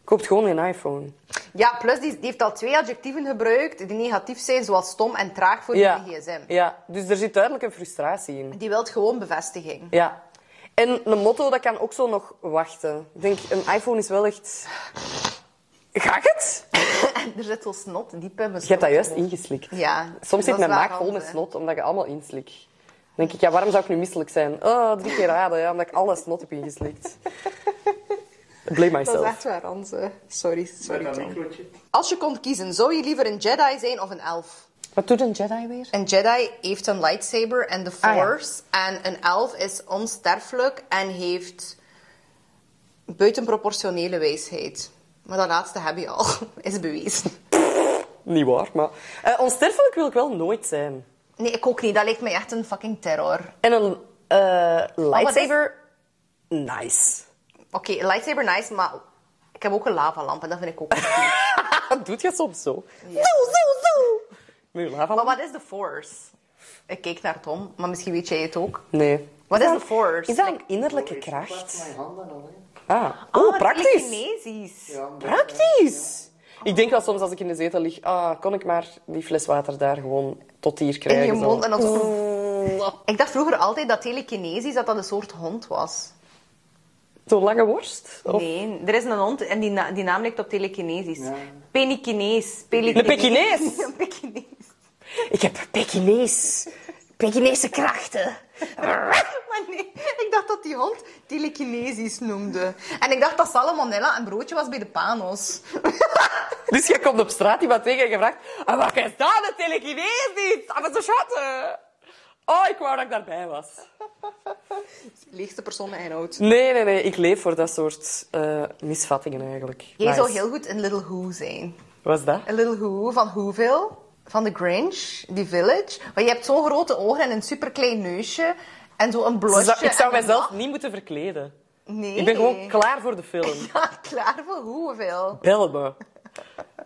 S2: koopt gewoon een iPhone.
S3: Ja, plus die, die heeft al twee adjectieven gebruikt die negatief zijn, zoals stom en traag voor je gsm.
S2: ja, dus er zit duidelijk een frustratie in.
S3: Die wilt gewoon bevestiging.
S2: Ja. En een motto, dat kan ook zo nog wachten. Ik denk, een iPhone is wel echt... Ga ik het?
S3: er zit zo snot diep in mijn
S2: Je hebt dat juist ingeslikt.
S3: Ja.
S2: Soms
S3: dat
S2: zit
S3: is
S2: mijn
S3: wel
S2: maag vol met
S3: handig.
S2: snot, omdat je allemaal inslik. Dan denk ik, ja, waarom zou ik nu misselijk zijn? Oh, drie keer raden, ja, omdat ik alle snot heb ingeslikt. Blame
S3: Dat is
S2: myself.
S3: echt waar, Anze. Sorry, sorry.
S8: Dat
S3: Tom.
S8: microchip.
S3: Als je kon kiezen, zou je liever een Jedi zijn of een elf?
S2: Wat doet een Jedi weer?
S3: Een Jedi heeft een lightsaber en de Force. En een elf is onsterfelijk en heeft buitenproportionele wijsheid. Maar dat laatste heb je al, is bewezen.
S2: Niet waar, maar... Eh, onsterfelijk wil ik wel nooit zijn.
S3: Nee, ik ook niet. Dat lijkt mij echt een fucking terror.
S2: En een eh, lightsaber...
S3: Oh, lightsaber?
S2: Nice.
S3: Oké, een lightsaber nice, maar ik heb ook een lavalamp en dat vind ik ook niet cool.
S2: Dat doet je soms zo.
S3: Zo, zo, zo!
S2: Moet je lava
S3: Maar wat is de Force? Ik kijk naar Tom, maar misschien weet jij het ook.
S2: Nee.
S3: Wat is de Force?
S2: Is dat een innerlijke kracht?
S8: Mijn handen al, hè.
S2: Ah. Oh,
S3: Ah,
S2: praktisch.
S3: telekinesisch.
S2: Praktisch. Ik denk wel soms als ik in de zetel lig, ah, kon ik maar die fles water daar gewoon tot hier
S3: In
S2: krijgen.
S3: je
S2: zo.
S3: mond en dan... Ik dacht vroeger altijd dat telekinesisch dat dat een soort hond was.
S2: Zo'n lange worst? Of...
S3: Nee, er is een hond en die, na- die naam lijkt op telekinesisch. Penikinees. Pelikinees.
S2: Een Pekinees.
S3: Een Pekinees.
S2: Ik heb Pekinees. Pekinese krachten.
S3: Maar nee, ik dacht dat die hond telekinesisch noemde. En ik dacht dat salmonella een broodje was bij de panos.
S2: Dus je komt op straat iemand tegen en je vraagt... Ah, wat is dat? Een telekinees niet? Ah, wat zo schatten. Oh, ik wou dat ik daarbij was.
S3: Leegste persoon met inhoud.
S2: Nee, nee, nee. Ik leef voor dat soort eh, misvattingen eigenlijk.
S3: Jij
S2: Nice.
S3: zou heel goed een Little Who zijn.
S2: Wat is dat?
S3: Een Little Who van hoeveel? Van The Grinch, die Village. Maar je hebt zo'n grote ogen en een superklein neusje. En zo'n
S2: Ze
S3: blosje.
S2: zou- ik zou
S3: en een
S2: mijzelf
S3: lach.
S2: niet moeten verkleden.
S3: Nee.
S2: Ik ben gewoon klaar voor de film.
S3: Ja, klaar voor hoeveel?
S2: Bel me.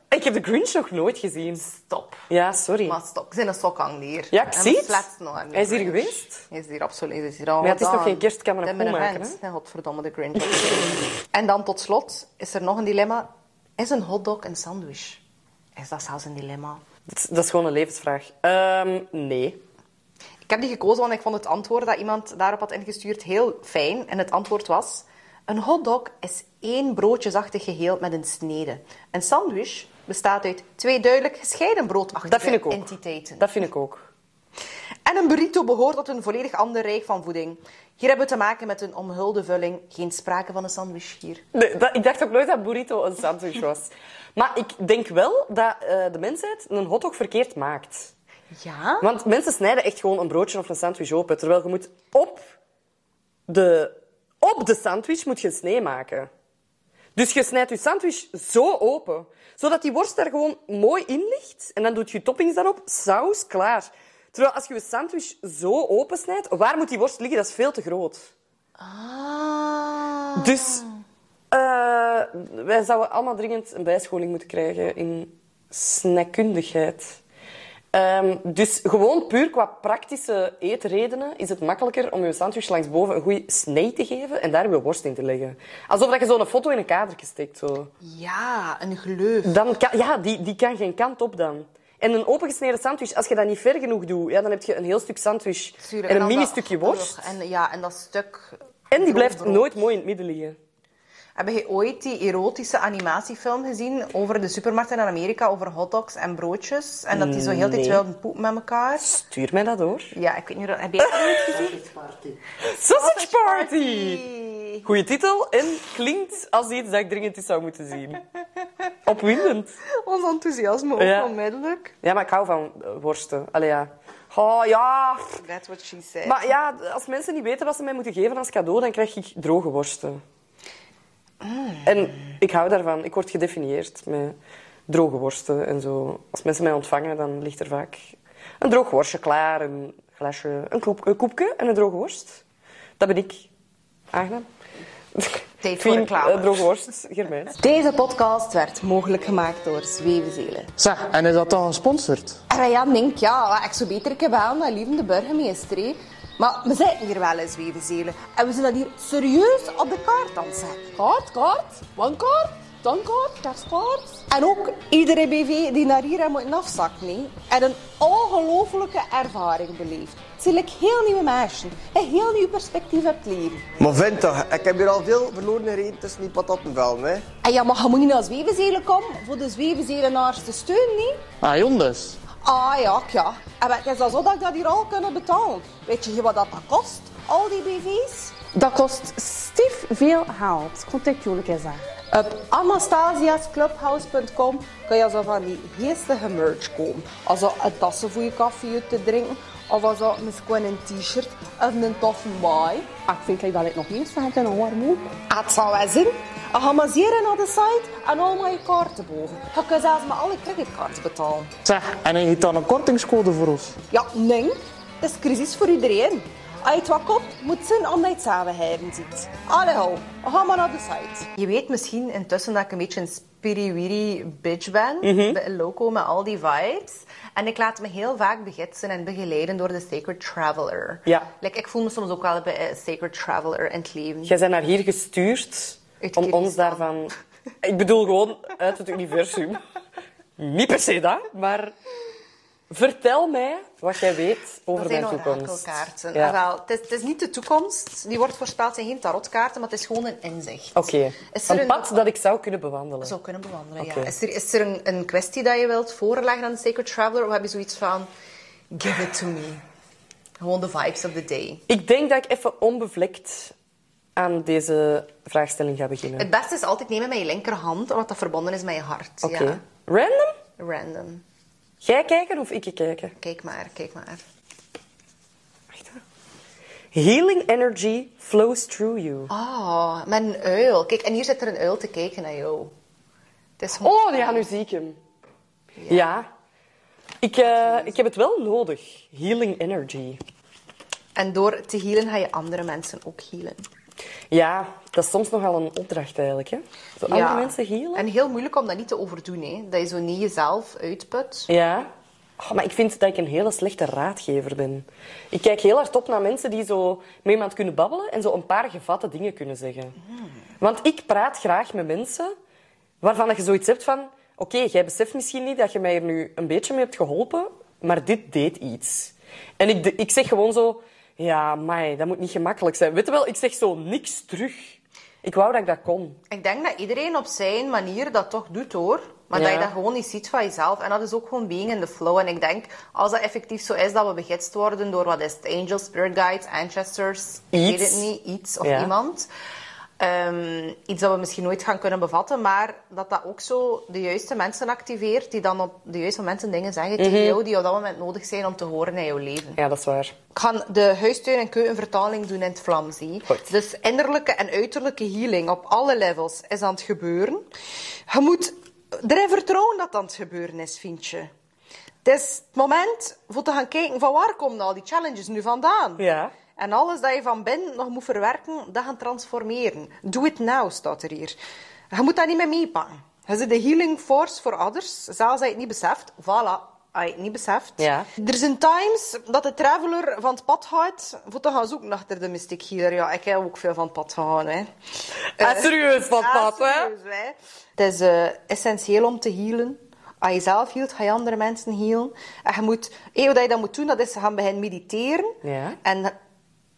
S2: Ik heb de Grinch nog nooit gezien.
S3: Stop.
S2: Ja, sorry.
S3: Maar stop. Ik ben een sokhandier.
S2: Ja, ik zie het.
S3: nog.
S2: Hij is hier geweest.
S3: Hij is hier absoluut. Hij is hier al
S2: Maar ja, het is
S3: gedaan.
S2: nog geen kerst, kan me nog
S3: Ik ben
S2: goed
S3: een
S2: maken,
S3: vent. Nee, godverdomme, de Grinch. en dan tot slot is er nog een dilemma. Is een hotdog een sandwich? Is dat zelfs een dilemma?
S2: Dat is, dat is gewoon een levensvraag. Ehm, nee.
S3: Ik heb die gekozen, want ik vond het antwoord dat iemand daarop had ingestuurd heel fijn. En het antwoord was... Een hotdog is één broodjesachtig geheel met een snede. Een sandwich bestaat uit twee duidelijk gescheiden broodachtige
S2: Dat vind ik ook.
S3: entiteiten.
S2: Dat vind ik ook.
S3: En een burrito behoort tot een volledig ander rijk van voeding. Hier hebben we te maken met een omhulde vulling. Geen sprake van een sandwich hier.
S2: Nee, dat- ik dacht ook nooit dat burrito een sandwich was. Maar ik denk wel dat eh, de mensheid een hotdog verkeerd maakt.
S3: Ja?
S2: Want mensen snijden echt gewoon een broodje of een sandwich open. Terwijl je moet op de, op de sandwich moet je een snee maken. Dus je snijdt je sandwich zo open, zodat die worst daar gewoon mooi in ligt. En dan doet je toppings daarop, saus, klaar. Terwijl als je je sandwich zo open snijdt, waar moet die worst liggen? Dat is veel te groot.
S3: Ah.
S2: Dus eh, wij zouden allemaal dringend een bijscholing moeten krijgen in snackundigheid. Ehm, dus gewoon puur qua praktische eetredenen is het makkelijker om je sandwich langsboven een goede snee te geven en daar je worst in te leggen. Alsof dat je zo'n foto in een kadertje steekt. Zo.
S3: Ja, een gleuf.
S2: Dan kan, ja, die, die kan geen kant op dan. En een opengesneden sandwich, als je dat niet ver genoeg doet, ja, dan heb je een heel stuk sandwich
S3: Tuurlijk,
S2: en een
S3: dan
S2: mini
S3: dat-
S2: stukje worst.
S3: En, ja, en dat stuk...
S2: En die blijft
S3: broodbrood.
S2: nooit mooi in het midden liggen.
S3: Heb je ooit die erotische animatiefilm gezien over de supermarkten in Amerika, over hotdogs en broodjes? En dat die zo heel de tijd
S2: Nee.
S3: wilden poepen met elkaar?
S2: Stuur mij dat hoor.
S3: Ja, ik weet niet... hoe dat- Heb jij dat ooit gezien?
S8: Party.
S2: Sausage Party! Goeie titel en klinkt als iets dat ik dringend eens zou moeten zien. Opwindend.
S3: Ons enthousiasme ook
S2: Ja.
S3: onmiddellijk.
S2: Ja, maar ik hou van eh, worsten. Allee, ja. Oh, ja. pff.
S3: That's what she said.
S2: Maar ja, als mensen niet weten wat ze mij moeten geven als cadeau, dan krijg ik droge worsten.
S3: Ah.
S2: En ik hou daarvan. Ik word gedefinieerd met droge worsten en zo. Als mensen mij ontvangen, dan ligt er vaak een droog worstje klaar, een glasje, een, koep, een koepje en een droge worst. Dat ben ik. Aangenaam.
S3: Tijd voor
S2: Fien,
S3: reclame.
S2: eh, droge worst, Germijns.
S1: Deze podcast werd mogelijk gemaakt door Zwevenzelen.
S6: Zeg, en is dat dan gesponsord?
S1: En ja, denk ja, wat ik zou beter kunnen bellen naar lieve de burgemeester. hè. Maar we zitten hier wel in Zwevenzelen. En we zijn dat hier serieus op de kaart aan het zetten. Kaart, kaart, bankkaart, dankkaart, kerstkaart. En ook iedere BV die naar hier heeft moeten afzakken. hè. En een ongelofelijke ervaring beleefd. Het zijn like heel nieuwe mensen. Een heel nieuw perspectief op het leven.
S7: Maar vind toch, ik heb hier al veel verloren gereden tussen die patattenvelden, hè.
S1: En ja, maar je moet niet naar Zwevenzelen komen voor de Zwevenzelenaars te steunen, niet?
S6: Ah, Jon dus.
S1: Ah ja, ook ja. En wel, het is al zo dat ik dat hier al kunnen betalen. Weet je wat dat dat kost? Al die BV's?
S9: Dat kost stief veel geld. Contact jullie eens aan.
S1: Op anastasiasclubhouse.com kun je zo van die geestige merch kopen. Also een tassen voor je koffie te drinken. Of also misschien een t-shirt of een toffe baai.
S9: Ah, ik vind dat ik nog niet eens heb in een warm ook.
S1: Ah, Het zal wel zijn. En Ga maar zeer naar de site en al mijn kaarten boven. Je kunt zelfs met alle creditcards betalen.
S6: Zeg, en hij heeft dan een kortingscode voor ons.
S1: Ja, nee. Het is crisis voor iedereen. Als je het wat koopt, moet het zijn omdat je het samen hebben ziet. Allee, hou. Ga maar naar de site.
S3: Je weet misschien intussen dat ik een beetje een spiriwiri bitch ben.
S6: Mhm.
S3: de Loco met al die vibes. En ik laat me heel vaak begidsen en begeleiden door de Sacred Traveler.
S2: Ja.
S3: Like, ik voel me soms ook wel bij een Sacred Traveler in het leven.
S2: Jij bent naar hier gestuurd
S3: Uit
S2: om ons
S3: Kyrgyzstan.
S2: daarvan... Ik bedoel gewoon uit het universum. Niet per se dat, maar... Vertel mij wat jij weet over
S3: dat
S2: mijn
S3: zijn
S2: toekomst.
S3: orakelkaarten.
S2: Ja.
S3: Ah, wel, het, is, het is niet de toekomst. Die wordt voorspeld zijn geen tarotkaarten, maar het is gewoon een inzicht.
S2: Oké,
S3: Is er
S2: een
S3: een-
S2: pad dat ik zou kunnen bewandelen.
S3: Zou kunnen bewandelen,
S2: Oké.
S3: ja. Is er, is er een, een kwestie dat je wilt voorleggen aan de Sacred Traveler? Of heb je zoiets van... Give it to me. Gewoon de vibes of the day.
S2: Ik denk dat ik even onbevlekt aan deze vraagstelling ga beginnen.
S3: Het beste is altijd nemen met je linkerhand, omdat dat verbonden is met je hart.
S2: Oké.
S3: Ja.
S2: Random?
S3: Random.
S2: Jij kijken of ik je kijken?
S3: Kijk maar, kijk maar.
S2: Wacht hoor. Healing energy flows through you.
S3: Oh, met een uil. Kijk, en hier zit er een uil te kijken naar jou. Het is gewoon-
S2: Oh, die gaan nu zieken. Ja. Ik, eh, ik heb het wel nodig. Healing energy.
S3: En door te healen ga je andere mensen ook healen.
S2: Ja, dat is soms nogal een opdracht eigenlijk. Hè? Zo andere
S3: Ja.
S2: mensen healen.
S3: En heel moeilijk om dat niet te overdoen, hè. Dat je zo niet jezelf uitput.
S2: Ja. Oh, maar ik vind dat ik een hele slechte raadgever ben. Ik kijk heel hard op naar mensen die zo met iemand kunnen babbelen en zo een paar gevatte dingen kunnen zeggen. Want ik praat graag met mensen waarvan dat je zoiets hebt van... Oké, jij beseft misschien niet dat je mij er nu een beetje mee hebt geholpen, maar dit deed iets. En ik, de- ik zeg gewoon zo... Ja, mij, dat moet niet gemakkelijk zijn. Weet je wel, ik zeg zo niks terug. Ik wou dat ik dat kon.
S3: Ik denk dat iedereen op zijn manier dat toch doet hoor. Maar
S2: Ja.
S3: dat je dat gewoon niet ziet van jezelf. En dat is ook gewoon being in the flow. En ik denk, als dat effectief zo is, dat we begidst worden door wat is het? Angels, spirit guides, ancestors. Ik weet
S2: Iets.
S3: het niet, iets of
S2: Ja.
S3: iemand. Ehm, iets dat we misschien nooit gaan kunnen bevatten. Maar dat dat ook zo de juiste mensen activeert. Die dan op de juiste momenten dingen zeggen
S2: Mhm.
S3: tegen jou. Die op dat moment nodig zijn om te horen in jouw leven.
S2: Ja, dat is waar.
S3: Ik ga de huistuin- en keukenvertaling doen in het Vlaams. zie.
S2: Goed.
S3: Dus innerlijke en uiterlijke healing op alle levels is aan het gebeuren. Je moet erin vertrouwen dat het aan het gebeuren is, vind je. Het is het moment om te gaan kijken van waar komen al die challenges nu vandaan.
S2: Ja.
S3: En alles dat je van binnen nog moet nou, verwerken, dat gaan transformeren. Do it now, staat er hier. Je moet dat niet meer meepakken. Je Je zit de healing force voor others, zelfs als je het niet beseft. Voilà. Als je het niet beseft.
S2: Ja.
S3: Er zijn times dat de traveler van het pad gaat voor te gaan zoeken achter de mystic healer. Ja, ik heb ook veel van het pad gehouden. Hè.
S2: Ah,
S3: Eh,
S2: serieus, van
S3: ah,
S2: pad, hè?
S3: serieus, hè. Het is eh, essentieel om te healen. Als je zelf hield, ga je andere mensen healen. En je moet, eh, wat je dan moet doen, dat is gaan beginnen mediteren.
S2: Ja.
S3: En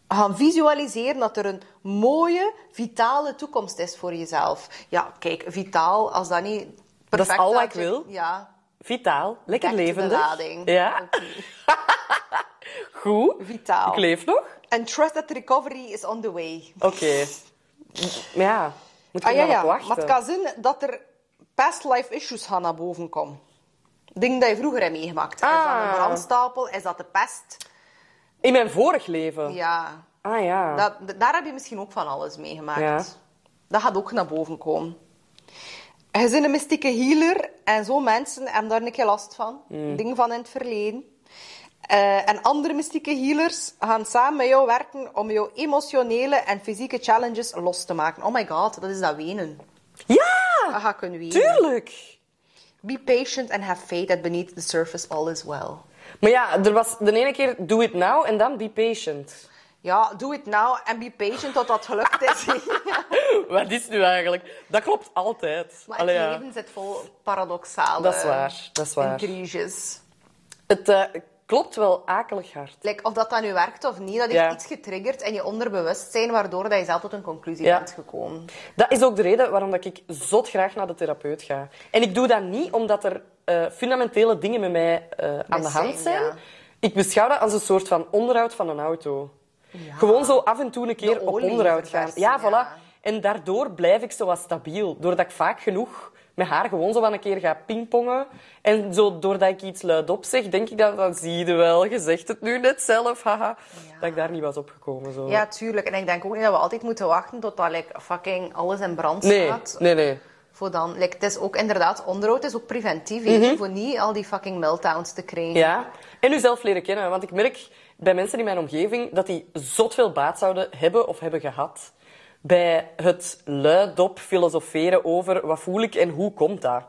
S3: gaan visualiseren dat er een mooie, vitale toekomst is voor jezelf. Ja, kijk, vitaal, als dat niet perfect
S2: is al wat
S3: gaat,
S2: ik wil.
S3: Ja,
S2: Vitaal, lekker
S3: Back to the
S2: levendig.
S3: lading.
S2: Ja.
S3: Oké.
S2: Goed.
S3: vitaal.
S2: Ik leef nog.
S3: En trust that recovery is on the way.
S2: Oké. Ja, moet ik
S3: Ah
S2: er
S3: ja,
S2: dan
S3: ja.
S2: op wachten?
S3: Maar het kan zijn dat er past life issues gaan naar boven komen. Dingen dat je vroeger hebt meegemaakt. Is dat
S2: Ah.
S3: een brandstapel? Is dat de pest?
S2: In mijn vorig leven?
S3: Ja.
S2: Ah ja.
S3: Dat, d- daar heb je misschien ook van alles meegemaakt.
S2: Ja.
S3: Dat gaat ook naar boven komen. Je bent een mystieke healer en zo mensen hebben daar een keer last van.
S2: Mm.
S3: Dingen van in het verleden. Eh, en andere mystieke healers gaan samen met jou werken om jouw emotionele en fysieke challenges los te maken. Oh my god, dat is dat wenen.
S2: Ja!
S3: Dat ga ik kunnen wenen.
S2: Tuurlijk!
S3: Be patient and have faith that beneath the surface all is well.
S2: Maar ja, er was de ene keer do it now en dan be patient.
S3: Ja, do it now and be patient tot dat gelukt is.
S2: Wat is nu eigenlijk? Dat klopt altijd.
S3: maar het
S2: Allee, ja.
S3: leven zit vol paradoxale
S2: Dat is waar, dat is waar.
S3: intriges.
S2: Het eh, klopt wel akelig hard.
S3: Like, of dat dan nu werkt of niet, dat heeft
S2: Ja.
S3: iets getriggerd in je onderbewustzijn, waardoor dat je zelf tot een conclusie
S2: Ja.
S3: bent gekomen.
S2: Dat is ook de reden waarom dat ik zot graag naar de therapeut ga. En ik doe dat niet omdat er eh, fundamentele dingen met mij eh, aan de hand
S3: zijn,
S2: zijn.
S3: ja.
S2: Ik beschouw dat als een soort van onderhoud van een auto. Gewoon zo af en toe een keer op
S3: olie
S2: onderhoud gaan.
S3: verversen,
S2: Ja,
S3: ja.
S2: voilà. En daardoor blijf ik zo wat stabiel. Doordat ik vaak genoeg met haar gewoon zo van een keer ga pingpongen. En zo doordat ik iets luidop zeg, denk ik dat, dan zie je wel, je zegt het nu net zelf, haha. Dat ik daar niet was opgekomen. Zo.
S3: Ja, tuurlijk. En ik denk ook niet dat we altijd moeten wachten tot dat like, fucking alles in brand
S2: nee,
S3: staat.
S2: nee, nee.
S3: Voor dan, like, het is ook inderdaad onderhoud, het is ook preventief, hè, voor niet al die fucking meltdowns te krijgen.
S2: Mhm. Ja, en uzelf leren kennen. Want ik merk bij mensen in mijn omgeving dat die zot veel baat zouden hebben of hebben gehad bij het luidop filosoferen over wat voel ik en hoe komt dat.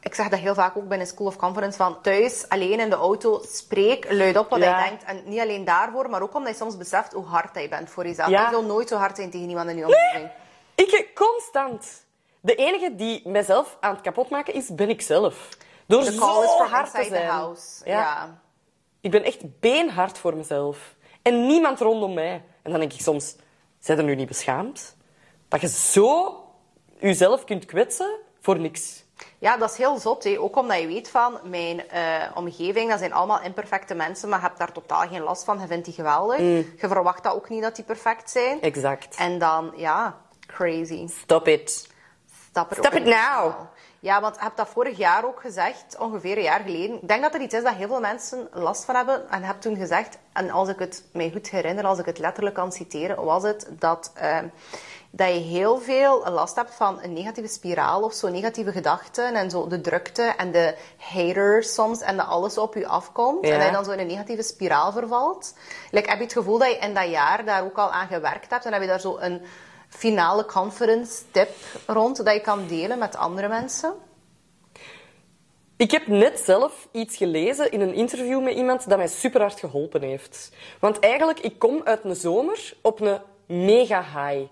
S3: Ik zeg dat heel vaak ook binnen School of Conference, van thuis, alleen in de auto, spreek luid op wat
S2: Ja.
S3: je denkt. En niet alleen daarvoor, maar ook omdat je soms beseft hoe hard dat je bent voor jezelf.
S2: Ja.
S3: Je wil nooit zo hard zijn tegen iemand in je omgeving.
S2: Ik constant. De enige die mijzelf aan het kapotmaken is, ben ik zelf. Door
S3: The
S2: zo
S3: call is from
S2: hard te
S3: inside the
S2: zijn.
S3: house.
S2: Ja.
S3: ja.
S2: Ik ben echt beenhard voor mezelf. En niemand rondom mij. En dan denk ik soms, zijn er nu niet beschaamd? Dat je zo jezelf kunt kwetsen voor niks.
S3: Ja, dat is heel zot. Hè. Ook omdat je weet van mijn eh, omgeving, dat zijn allemaal imperfecte mensen, maar je hebt daar totaal geen last van. Je vindt die geweldig. Je verwacht dat ook niet dat die perfect zijn.
S2: Exact.
S3: En dan, ja, crazy.
S2: Stop it.
S3: Stap het
S2: Stop it now.
S3: Ja, want je hebt dat vorig jaar ook gezegd, ongeveer een jaar geleden. Ik denk dat er iets is dat heel veel mensen last van hebben. En je hebt toen gezegd, en als ik het mij goed herinner, als ik het letterlijk kan citeren, was het dat, eh, dat je heel veel last hebt van een negatieve spiraal of zo, negatieve gedachten en zo de drukte en de haters soms en dat alles op je afkomt.
S2: Ja.
S3: En dat je dan zo in een negatieve spiraal vervalt. Like, heb je het gevoel dat je in dat jaar daar ook al aan gewerkt hebt en heb je daar zo een finale conference tip rond dat je kan delen met andere mensen?
S2: Ik heb net zelf iets gelezen in een interview met iemand dat mij super hard geholpen heeft. Want eigenlijk, ik kom uit een zomer op een mega high.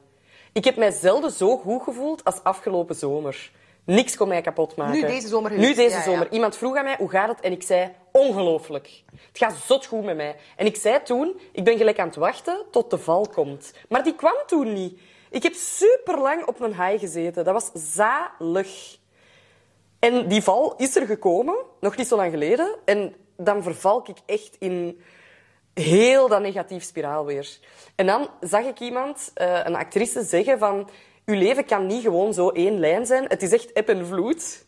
S2: Ik heb mij zelden zo goed gevoeld als afgelopen zomer. Niks kon mij kapot maken.
S3: Nu deze zomer
S2: Nu
S3: geweest,
S2: deze
S3: ja, ja.
S2: zomer. Iemand vroeg aan mij, hoe gaat het? En ik zei, ongelooflijk. Het gaat zot goed met mij. En ik zei toen, ik ben gelijk aan het wachten tot de val komt. Maar die kwam toen niet. Ik heb super lang op mijn high gezeten. Dat was zalig. En die val is er gekomen, nog niet zo lang geleden. En dan verval ik echt in heel dat negatief spiraal weer. En dan zag ik iemand, eh, een actrice, zeggen van... Uw leven kan niet gewoon zo één lijn zijn. Het is echt eb en vloed.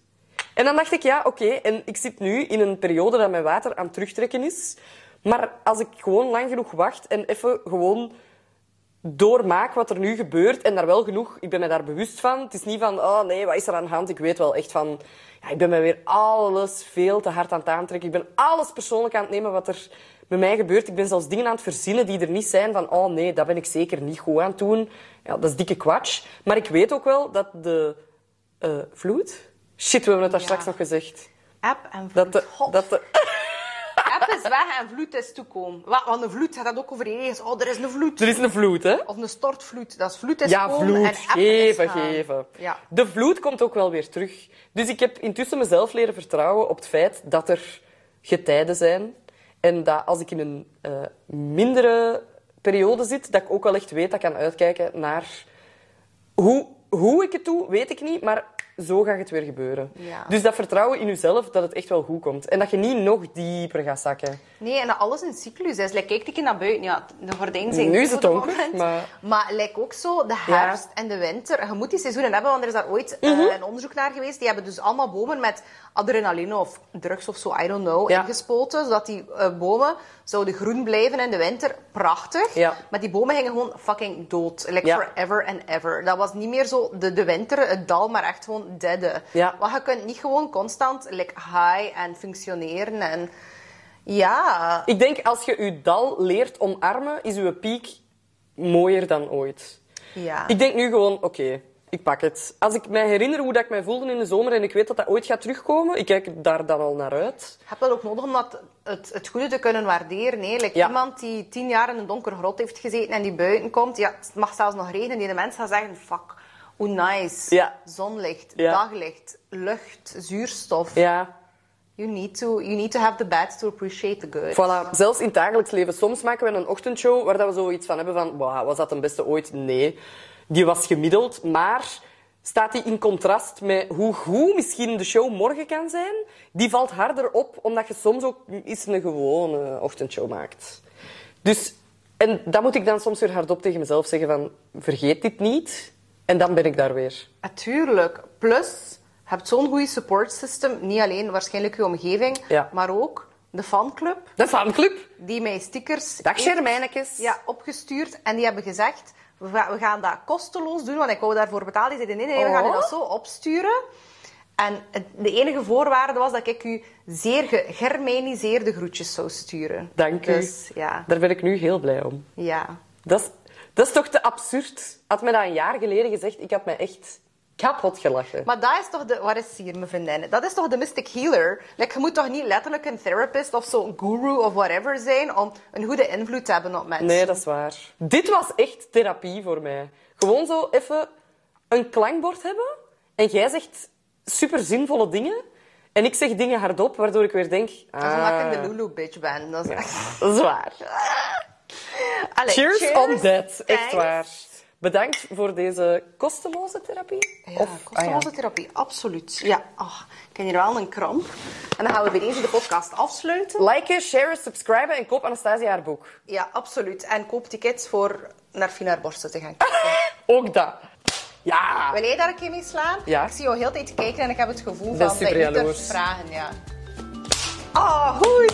S2: En dan dacht ik, ja, oké. En ik zit nu in een periode dat mijn water aan het terugtrekken is. Maar als ik gewoon lang genoeg wacht en even gewoon doormaak wat er nu gebeurt en daar wel genoeg, ik ben me daar bewust van. Het is niet van, oh nee, wat is er aan de hand? Ik weet wel echt van, ja, ik ben me weer alles veel te hard aan het aantrekken. Ik ben alles persoonlijk aan het nemen wat er met mij gebeurt. Ik ben zelfs dingen aan het verzinnen die er niet zijn van, oh nee, dat ben ik zeker niet goed aan het doen. Ja, dat is dikke kwatsch. Maar ik weet ook wel dat de eh, eh, vloed. Shit, we hebben het daar straks nog gezegd.
S3: App en vloed.
S2: Dat de,
S3: God,
S2: dat de,
S3: App is weg en vloed is toekomen. Wa- Want een vloed gaat dat ook over ergens. Oh, er is een vloed.
S2: er is een vloed, hè?
S3: Of een stortvloed. Dat is vloed is
S2: Ja,
S3: komen en
S2: vloed.
S3: app is
S2: Geven,
S3: gaan.
S2: geven.
S3: Ja.
S2: De vloed komt ook wel weer terug. Dus ik heb intussen mezelf leren vertrouwen op het feit dat er getijden zijn. En dat als ik in een eh, mindere periode zit, dat ik ook wel echt weet dat ik kan uitkijken naar... Hoe, hoe ik het doe, weet ik niet, maar zo gaat het weer gebeuren.
S3: Ja.
S2: Dus dat vertrouwen in jezelf, dat het echt wel goed komt. En dat je niet nog dieper gaat zakken.
S3: Nee, en dat alles in cyclus is. Like, kijk een keer naar buiten. Ja, de gordijnen zijn
S2: Nu is
S3: toe
S2: het
S3: op
S2: donker,
S3: moment.
S2: maar-
S3: Maar like, ook zo de herfst en de winter. Je moet die seizoenen hebben, want er is daar ooit
S2: Mhm.
S3: eh, een onderzoek naar geweest. Die hebben dus allemaal bomen met adrenaline of drugs of zo, I don't know,
S2: Ja.
S3: ingespoten. Zodat die eh, bomen zouden groen blijven in de winter. Prachtig.
S2: Ja.
S3: Maar die bomen gingen gewoon fucking dood. Like
S2: Ja.
S3: forever and ever. Dat was niet meer zo de, de winter, het dal, maar echt gewoon deaden.
S2: Ja.
S3: Want je kunt niet gewoon constant like, high en functioneren en... Ja,
S2: Ik denk, als je je dal leert omarmen, is je piek mooier dan ooit.
S3: Ja.
S2: Ik denk nu gewoon, oké, ik pak het. Als ik mij herinner hoe dat ik mij voelde in de zomer en ik weet dat dat ooit gaat terugkomen, ik kijk daar dan al naar uit.
S3: Je hebt dat ook nodig om dat, het, het goede te kunnen waarderen. Hè? Like
S2: Ja.
S3: Iemand die tien jaar in een donkere grot heeft gezeten en die buiten komt, ja, het mag zelfs nog regenen. Die de mensen gaan zeggen, fuck, hoe nice.
S2: Ja.
S3: Zonlicht,
S2: Ja.
S3: daglicht, lucht, zuurstof.
S2: Ja,
S3: You, need to, you need to have the bad to appreciate the good.
S2: voilà. Zelfs in het dagelijks leven. Soms maken we een ochtendshow waar dat we zoiets van hebben van, "Wauw, was dat een beste ooit? Nee, die was gemiddeld, maar staat die in contrast met hoe goed misschien de show morgen kan zijn? Die valt harder op, omdat je soms ook eens een gewone ochtendshow maakt. Dus, en dat moet ik dan soms weer hardop tegen mezelf zeggen van, vergeet dit niet. En dan ben ik daar weer.
S3: Natuurlijk. Plus, je hebt zo'n goed support system. Niet alleen waarschijnlijk je omgeving,
S2: Ja.
S3: maar ook de fanclub.
S2: De fanclub.
S3: die mij stickers
S2: Dag,
S3: heeft-
S2: Sjermijnekes.
S3: ja, opgestuurd. En die hebben gezegd, we, ga- we gaan dat kosteloos doen, want ik wou daarvoor betalen. Die zeiden, nee, nee, we gaan u
S2: Oh.
S3: dat zo opsturen. En het- de enige voorwaarde was dat ik u zeer gegermaniseerde groetjes zou sturen.
S2: Dank u.
S3: Dus ja,
S2: Daar ben ik nu heel blij om.
S3: ja.
S2: Dat is, dat is toch te absurd? Had mij dat een jaar geleden gezegd, ik had mij echt kapot gelachen.
S3: Maar dat is toch de... Waar is hier, mijn vriendinnen? Dat is toch de mystic healer? Like, je moet toch niet letterlijk een therapist of zo'n guru of whatever zijn om een goede invloed te hebben op mensen?
S2: nee, dat is waar. Dit was echt therapie voor mij. Gewoon zo even een klankbord hebben en jij zegt super zinvolle dingen en ik zeg dingen hardop, waardoor ik weer denk... Ah,
S3: Dat is omdat ik een Lulu-bitch ben. Dat is echt...
S2: dat is waar.
S3: Allee,
S2: Cheers, on that.
S3: Thanks.
S2: Echt waar. Bedankt voor deze kosteloze therapie. ah
S3: Ja, kosteloze therapie, absoluut. Ja, ah, ik heb hier wel een kramp. En dan gaan we bij deze de podcast afsluiten.
S2: Liken, sharen, subscriben en koop Anastasia haar boek.
S3: Ja, absoluut. En koop tickets voor naar Finaar Borsten te gaan kijken.
S2: Ook dat. Ja.
S3: Wil jij daar een keer mee slaan?
S2: Ja.
S3: Ik zie jou heel de tijd kijken en ik heb het gevoel
S2: ben
S3: van dat
S2: super
S3: ik niet durf
S2: jaloers.
S3: te vragen. Ja. Ah, goed!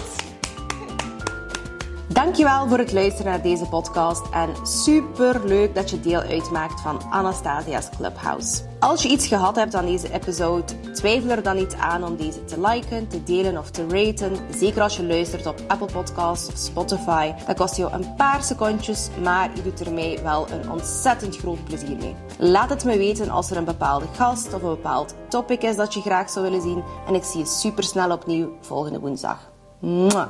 S1: Dankjewel voor het luisteren naar deze podcast en super leuk dat je deel uitmaakt van Anastasia's Clubhouse. Als je iets gehad hebt aan deze episode, twijfel er dan niet aan om deze te liken, te delen of te raten. Zeker als je luistert op Apple Podcasts of Spotify. Dat kost jou een paar secondjes, maar je doet er mij wel een ontzettend groot plezier mee. Laat het me weten als er een bepaalde gast of een bepaald topic is dat je graag zou willen zien. En ik zie je super snel opnieuw volgende woensdag. Mwah.